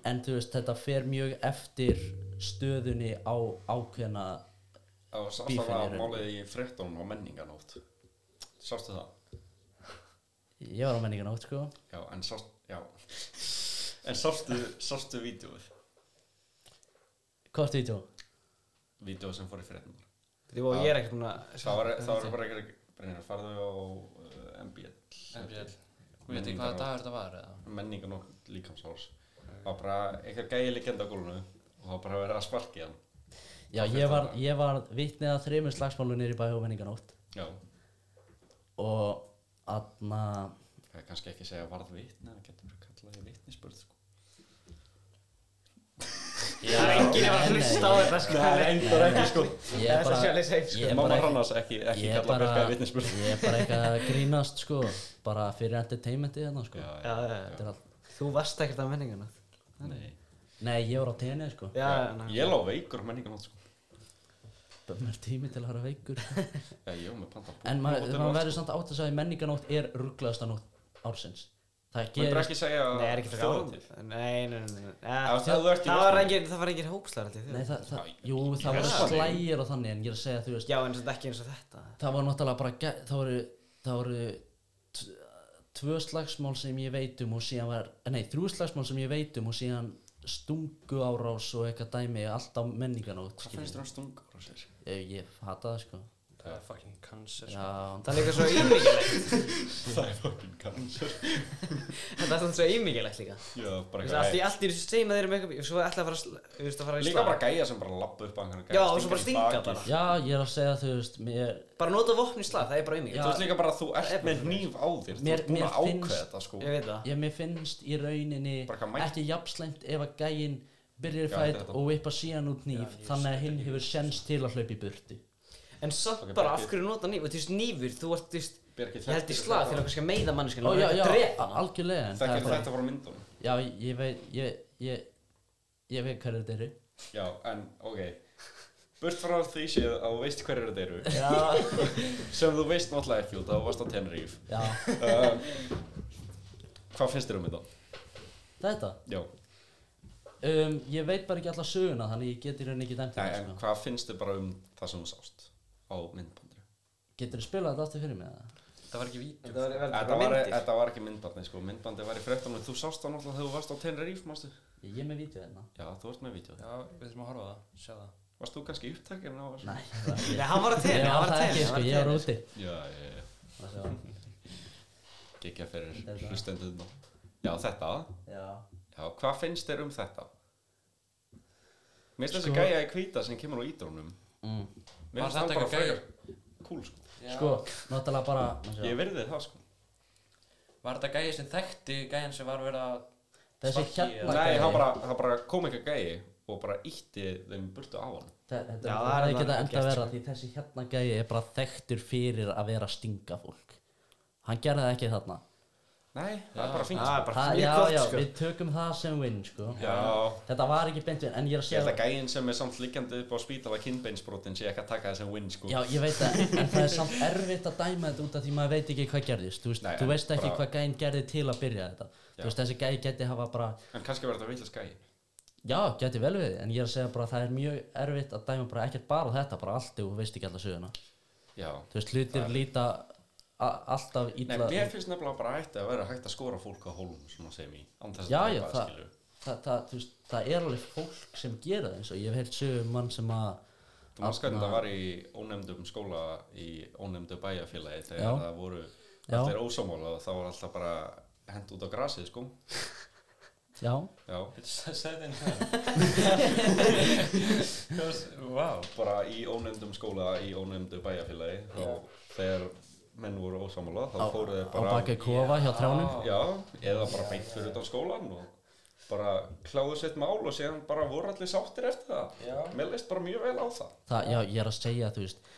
Speaker 2: En þú veist, þetta fer mjög eftir stöðunni á ákveðna
Speaker 1: Það var sást
Speaker 2: Bífinn
Speaker 1: það að
Speaker 2: er-
Speaker 1: málið í fréttunum á menninganótt Sástu það?
Speaker 2: Ég var á menningana átt, sko
Speaker 1: Já, en sást Já En sástu, sástu vídjóið
Speaker 2: Hvort vítjó?
Speaker 1: Vídjóið sem fór í fréttunum
Speaker 3: Þú og ég er ekkert múin að
Speaker 1: Það var, það var bara ekki Brynjar, farðu á uh, MBL
Speaker 4: MBL Þú veit ekki hvaða dagur þetta var eða?
Speaker 1: Menninganótt líkamsárs Það var bara einhver gæi legenda á gólfinu og það var bara að vera að sparki hann
Speaker 2: Já, ég var, ég var vitnið að þreymur slagsmálu nýri bæ á menningana átt
Speaker 1: Já
Speaker 2: Og aðna
Speaker 1: Það er kannski ekki að segja varð vitni það getur bara kallað í vitnisbörð sko
Speaker 3: Það er enginn að fara að hlusta á þetta sko
Speaker 1: Það er endur ekki sko
Speaker 2: Ég er
Speaker 3: Það er
Speaker 2: bara,
Speaker 3: sjálf í segjum sko
Speaker 2: ég er
Speaker 1: Mamma
Speaker 2: bara ekki
Speaker 1: Hrannas ekki, ekki
Speaker 2: ég er
Speaker 1: kallað
Speaker 2: bara-
Speaker 1: Birka í vitnisbörð
Speaker 2: Ég er bara eitthvað að grínast sko bara fyrir entertainmenti hérna sko
Speaker 1: Já,
Speaker 3: Já, já,
Speaker 2: Þetta er allt-
Speaker 3: já. Þú varst ekkert á menningana
Speaker 1: Nei
Speaker 2: Nei, ég var á tenni sko
Speaker 3: Já, já, ná.
Speaker 1: Ég lá veikur á menninganótt sko
Speaker 2: Bömmar tími til að höra veikur
Speaker 1: Já, ég var með panta búr
Speaker 2: En maður
Speaker 1: hótel
Speaker 2: ma
Speaker 1: og allt,
Speaker 2: verður samt átt að segja að menninganótt er rugglaðasta nótt ársins Það
Speaker 1: Þú myndir
Speaker 2: gerist
Speaker 1: ekki segja
Speaker 3: Nei, er ekki fyrir
Speaker 1: þjóðhátíð?
Speaker 3: árum Nei, nei, nei, nei.
Speaker 1: Já,
Speaker 3: Ja,
Speaker 1: það þú ert í
Speaker 3: Það var
Speaker 1: Vestmannaeyjum.
Speaker 3: engin, það var engin hópslar alltaf
Speaker 2: Nei, það, það, Jú,
Speaker 1: Í
Speaker 2: það voru
Speaker 1: Vestmannaeyjum?
Speaker 2: slægir og þannig en ég er að segja þú veist
Speaker 3: Já, en þetta ekki eins og þetta
Speaker 2: Það var náttúrulega bara ge- það voru, það voru t- tvö slagsmál sem ég veit um og síðan var, nei, þrjú slagsmál sem ég veit um og síðan stungu árás og eitthvað dæmi allt á menninganótt
Speaker 1: Hvað
Speaker 2: skilur.
Speaker 1: finnst þér um stungur á sér?
Speaker 2: Ég, ég hata það sko
Speaker 4: Það er fucking cancer sko.
Speaker 2: Já,
Speaker 3: Það er líka svo ímyggilegt
Speaker 1: Það er fucking cancer
Speaker 3: Þetta er svona svo ímyggilegt líka
Speaker 1: Já, bara
Speaker 3: Þú veist, Allt í allt í þessu steima þeir eru með eitthvað og Svo ætla að fara að sl- Þú veist að fara í
Speaker 1: Líka
Speaker 3: slag
Speaker 1: bara gæja sem bara lappa upp á einhverjum
Speaker 3: Já, og svo bara stinga bara.
Speaker 2: já ég er að segja þú veist Mér,
Speaker 3: Bara nota vopn í slag, það er bara
Speaker 1: Þú
Speaker 3: ímyggilegt
Speaker 1: veist líka bara að þú ert með hníf á þér Þú
Speaker 2: Mér-
Speaker 1: ert búin
Speaker 2: mér
Speaker 1: að ákveða
Speaker 2: finnst-
Speaker 1: þetta sko
Speaker 3: Ég veit það
Speaker 2: ég, mér finnst í rauninni
Speaker 1: Bara hvað mætt-
Speaker 2: ekki jafnslæmt ef að gæinn byrjar
Speaker 1: Já,
Speaker 2: fætt
Speaker 1: þetta-
Speaker 2: og vippar síðan út nýf
Speaker 4: Já, ég
Speaker 2: þannig að
Speaker 4: skil
Speaker 2: hinn
Speaker 4: ekki.
Speaker 2: hefur sens til að hlaupa í burti
Speaker 3: En samt
Speaker 1: Ok,
Speaker 3: bara
Speaker 1: bara
Speaker 3: af
Speaker 1: ekki-
Speaker 3: hverju nota nýfur Þú veist nýfur, þú ert, þú veist
Speaker 1: Birgir,
Speaker 3: Ég held í
Speaker 1: þekkir
Speaker 3: slag
Speaker 1: þetta
Speaker 3: til að kannski meiða manneskinu
Speaker 2: Ó,
Speaker 3: og
Speaker 2: já, já,
Speaker 3: drepa hana.
Speaker 2: algjörlega en það er
Speaker 1: Þekkir
Speaker 2: bara,
Speaker 1: þetta frá myndunum
Speaker 2: Já, ég veit ég, ég, ég veit hverju þetta eru
Speaker 1: Já, en ok Burt frá því séð að þú veist hverjir þetta eru
Speaker 2: Já,
Speaker 1: sem þú veist náttúrulega ekki út að þú varst á Tenerife
Speaker 2: já
Speaker 1: um, Hvað finnst þér um þetta?
Speaker 2: þetta
Speaker 1: Já,
Speaker 2: um, Ég veit bara ekki alla söguna þannig ég get í rauninni ekki dæmt
Speaker 1: Nei,
Speaker 2: þetta
Speaker 1: en
Speaker 2: sko.
Speaker 1: hvað finnst þér bara um það sem þú sást á myndbandinu?
Speaker 2: Getur þú spilað þetta aftur fyrir mig? eða?
Speaker 4: Það var ekki vídeo
Speaker 3: Þetta var, var,
Speaker 1: Þetta
Speaker 3: var
Speaker 1: var,
Speaker 3: myndir
Speaker 1: þetta var ekki myndbandið sko, myndbandið var í fréttunum Þú sást það náttúrulega þegar þú varst á Tenerife, mástu?
Speaker 2: Ég ég er með vídeo hérna
Speaker 1: Já, þú varst með vídeo
Speaker 4: Já, við þurfum að horfa á það, sjá það
Speaker 1: Varst þú kannski upptækjan á þessu?
Speaker 2: Nei, það
Speaker 3: Nei, hann var að
Speaker 2: Ég
Speaker 3: tenni,
Speaker 2: var
Speaker 3: hann var að
Speaker 2: það ekki
Speaker 3: tenni
Speaker 2: sko, ég var úti
Speaker 1: Já, já, já, gekk ég
Speaker 2: Þetta er
Speaker 1: fyrir
Speaker 2: það.
Speaker 1: hlustendurna Já, þetta
Speaker 2: Já
Speaker 1: Já, hvað finnst þér um þetta? Mér finnst
Speaker 2: Sko-
Speaker 1: þessi gæja í hvíta sem kemur á ídrónum
Speaker 2: mm.
Speaker 1: Mér finnst
Speaker 4: Var
Speaker 1: hann
Speaker 4: þetta
Speaker 1: bara
Speaker 4: eitthvað gæja?
Speaker 1: frekar Kúl sko
Speaker 4: Já.
Speaker 2: Sko, náttúrulega bara má sjá.
Speaker 1: Ég virði það sko
Speaker 4: Var þetta gæja sem þekkti gæjan sem var verið að
Speaker 2: Þessi
Speaker 4: Svaki,
Speaker 2: hérna
Speaker 4: eða?
Speaker 1: Nei,
Speaker 2: gæi,
Speaker 1: hann bara, hann bara kom ekki að gæi og bara ítti þeim burtu á hann
Speaker 2: þe- Þetta er
Speaker 3: Já, það er
Speaker 2: það
Speaker 3: alveg
Speaker 2: geta enda
Speaker 3: gert,
Speaker 2: verra
Speaker 1: sko.
Speaker 2: Því þessi hérna gæi er bara þekktur fyrir að vera að stinga fólk Hann gerði það ekki þarna
Speaker 1: Nei, það er
Speaker 4: Já.
Speaker 1: bara fínt
Speaker 3: Það
Speaker 1: sko.
Speaker 3: er bara
Speaker 2: það, Já,
Speaker 3: mjög gott
Speaker 2: já,
Speaker 3: sko
Speaker 2: við tökum það sem vinn sko.
Speaker 1: Já,
Speaker 2: Þetta var ekki beint vinn En ég er að
Speaker 1: ég held að
Speaker 2: segja
Speaker 1: gæin sem er samt liggjandi upp á spítala kinnbeinsbrotin sé ekki að taka það sem win sko
Speaker 2: Já, ég veit það, en það er samt erfitt að dæma þetta út af því maður veit ekki hvað gerðist Þú veist,
Speaker 1: Nei,
Speaker 2: þú
Speaker 1: en
Speaker 2: veist ekki
Speaker 1: bara-
Speaker 2: hvað gæinn gerði til að byrja þetta Þú
Speaker 1: Já.
Speaker 2: veist, þessi gæi geti hafa bara
Speaker 1: En kannski verður þetta villast gæi
Speaker 2: Já, geti vel við, en ég er að segja bara að það er mjög erfitt að dæma bara ekkert bara þetta, bara allt ef þú veist ekki alla söguna.
Speaker 1: Já
Speaker 2: Þú veist, hlutir líta a- alltaf
Speaker 1: Nei,
Speaker 2: illa.
Speaker 1: mér finnst nefnilega bara hægt að vera hægt að skora fólk á hólum svona sem í án þess að
Speaker 2: Já,
Speaker 1: drepa
Speaker 2: já,
Speaker 1: það,
Speaker 2: það-
Speaker 1: skilurðu.
Speaker 2: Þa, það, þú veist, það er alveg fólk sem gera það eins og ég hef heilt sögum mann sem að...
Speaker 1: Þú manns
Speaker 2: Þarna-
Speaker 1: hvernig það var í ónefndum skóla í ónefndu bæjarfélagi þegar
Speaker 2: Já.
Speaker 1: það voru
Speaker 2: Já.
Speaker 1: allir ósámála og það var alltaf bara hent út á grasið sko
Speaker 2: Já,
Speaker 1: Já,
Speaker 4: Þetta segði henni það Það var, s- wow
Speaker 1: bara í ónefndum skóla í ónefndu bæjarfélagi þá þegar menn voru ósámála þá
Speaker 2: á,
Speaker 1: fóru þeir
Speaker 2: á
Speaker 1: bara
Speaker 2: baki kofa hjá trjánum.
Speaker 4: Já.
Speaker 1: Já, eða bara beint fyrir utan skólan og bara kláðu sitt mál og séðan bara voru allir sáttir eftir það
Speaker 4: Já.
Speaker 1: Mér leist bara mjög vel á það
Speaker 2: Það, já, ég er að segja, þú veist,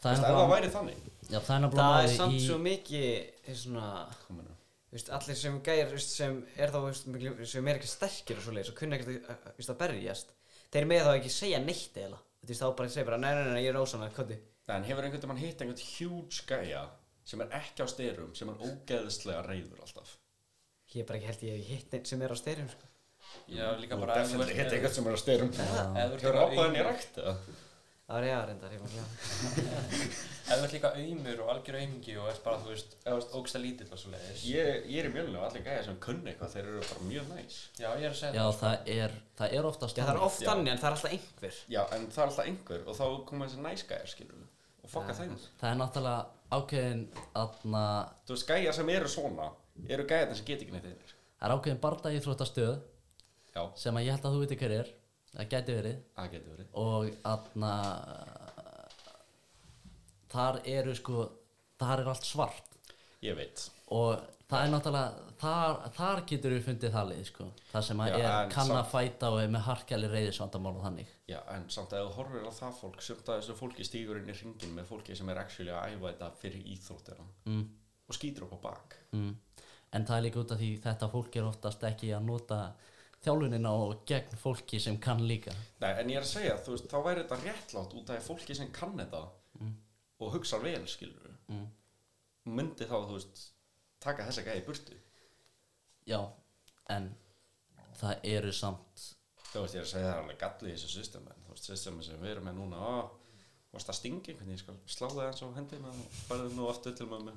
Speaker 2: það
Speaker 1: Vist, ef
Speaker 2: er
Speaker 1: það
Speaker 2: náttúrulega,
Speaker 1: væri þannig
Speaker 2: já, það er
Speaker 3: Það
Speaker 2: náttúrulega
Speaker 3: er samt
Speaker 2: málið
Speaker 3: svo
Speaker 2: í...
Speaker 3: mikið, þeir svona
Speaker 1: Hvað meinarðu?
Speaker 3: þú veist, allir sem gæjar þú veist, sem er þá þú veist, miklu- sem er ekki sterkir og svoleiðis og kunna ekki að, að berjast þeir með þá ekki segja neitt eiginlega þú veist þá bara segja bara nei nei nei, nei ég er ósann hvað
Speaker 1: Nei, en hefur einhvern veginn hitt einhvern huge gæja sem er ekki á styrum, sem er ógeðslega reyður alltaf?
Speaker 3: ég er bara ekki held ég hef hitt neitt sem er á styrjum sko.
Speaker 4: Já, líka
Speaker 1: Þú
Speaker 4: bara ef þú
Speaker 1: definitely hitt
Speaker 4: ert-
Speaker 1: einhvern sem er á styrum.
Speaker 4: ef þú ert
Speaker 1: Hefur
Speaker 4: líka
Speaker 1: ábæðin í
Speaker 4: aumur-
Speaker 1: rækt eða?
Speaker 3: það er ég að reynda ég, bara-
Speaker 4: ef þú ert líka auðmur og algjör auðmingi og ert bara, þú veist, ef þú ert ógsta lítill og svo leiðis
Speaker 1: Ég, ég er í mjölunum og allir gæja sem kunni eitthvað, þeir eru bara mjög næs.
Speaker 4: Já, ég er að segja
Speaker 2: Já, það er, það er oftast
Speaker 3: Já, það er
Speaker 2: þannig.
Speaker 3: oft
Speaker 1: Já.
Speaker 3: annir en það er alltaf einhver
Speaker 1: Já, en það er alltaf einhver og þá koma þessi næs gæjar, skilur við, og fokka
Speaker 3: Já.
Speaker 1: þeim.
Speaker 2: Það er náttúrulega ákveðin aðna,
Speaker 1: Þú veist, gæjar sem eru svona, eru gæjarnir sem get ekki neitt einir.
Speaker 2: það er ákveðin barda í þróttastöð
Speaker 1: Já,
Speaker 2: sem að ég held að þú veitir hver er það gæti verið
Speaker 1: það getur verið.
Speaker 2: og aðna þar eru sko þar er allt svart
Speaker 1: Ég veit.
Speaker 2: og það er náttúrulega þar, þar getur við fundið það lið sko það sem að
Speaker 1: Já,
Speaker 2: er
Speaker 1: en
Speaker 2: kann að
Speaker 1: samt-
Speaker 2: fæta og er með harkjali reyðisvandamál og þannig
Speaker 1: Já, en samt að þú horfir á það fólk, sumt að þessu fólki stígur inn í ringin með fólki sem er actually að æfa þetta fyrir íþróttina
Speaker 2: mm,
Speaker 1: og skýtur upp á bak.
Speaker 2: mm. en það er líka út af því þetta fólk er oftast ekki að nota þjálfunina og gegn fólki sem kann líka
Speaker 1: Nei, en ég er að segja, þú veist, þá væri þetta réttlátt út af því fólki sem kann þetta og hugsar vel, skilur við.
Speaker 2: Mm.
Speaker 1: Myndi þá, þú veist, taka þessa gæja í burtu.
Speaker 2: já, en það eru samt
Speaker 1: Þú veist, ég er að segja það er alveg gallið í þessu systemi, en þú veist, systemi sem við erum með núna, á, varst að stingi, hvernig ég skal slá það eins á hendina og farið nú aftur til mömmu.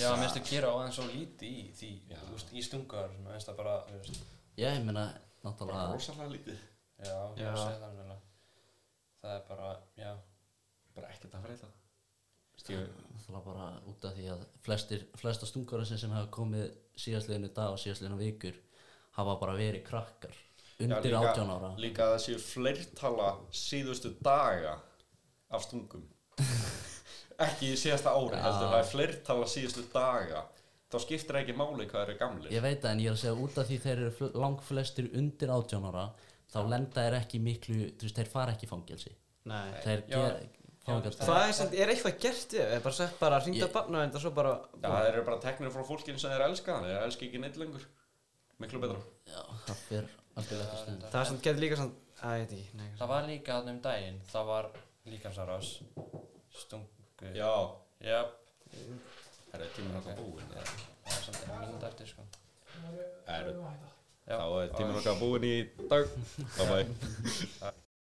Speaker 4: Já, minnst að gera á aðeins svo lítið í því,
Speaker 1: Já.
Speaker 4: þú veist, í stungar, minnst að bara, þú veist,
Speaker 2: já, ég meina,
Speaker 1: Bara
Speaker 2: náttúrulega
Speaker 1: rosalega lítið.
Speaker 4: já, ég er
Speaker 3: Já.
Speaker 4: að segja það mjög Það er bara, já,
Speaker 1: Bara ekkert að frétta. Þú veist, ég,
Speaker 2: náttúrulega bara út af því að flestir, flesta stungarasinn sem hafa komið síðastliðinu dag og síðastliðinu vikur hafa bara verið krakkar undir
Speaker 1: Já, líka-
Speaker 2: 18 ára
Speaker 1: Líka að það séu fleirtala síðustu daga af stungum Ekki í síðasta ári
Speaker 2: Já.
Speaker 1: heldur, það er fleirtala síðustu daga Þá skiptir ekki máli hvað þeir eru gamlir
Speaker 2: Ég veit það en ég er að segja út af því þeir eru fl- langflestir undir 18 ára þá lenda þeir ekki miklu, þú veist, þeir fara ekki í fangelsi
Speaker 3: Nei.
Speaker 2: Þeir
Speaker 4: Já,
Speaker 2: ger, fangast
Speaker 4: það
Speaker 3: Hvað er, samt- er eitthvað gert við? Er bara sagt bara að hringda
Speaker 2: Ég-
Speaker 3: barna og svo bara
Speaker 1: Já, þeir eru bara teknir frá fólkinu sem þeir elska Þeir elska ekki neitt lengur Miklu betra
Speaker 2: Já, það fyrir algjörlega ekki stund
Speaker 3: Það er samt getur líka samt að ég veit ekki nei,
Speaker 4: það var líka þannig um daginn, það var líkamsarás, stungu,
Speaker 1: Já,
Speaker 4: já,
Speaker 1: það eru tíminn okkar búinn eða?
Speaker 4: það er samt mínúnd eftir, sko.
Speaker 1: Það eru-
Speaker 4: Já.
Speaker 1: Þá er tíminn okkar búinn í dag Bye bye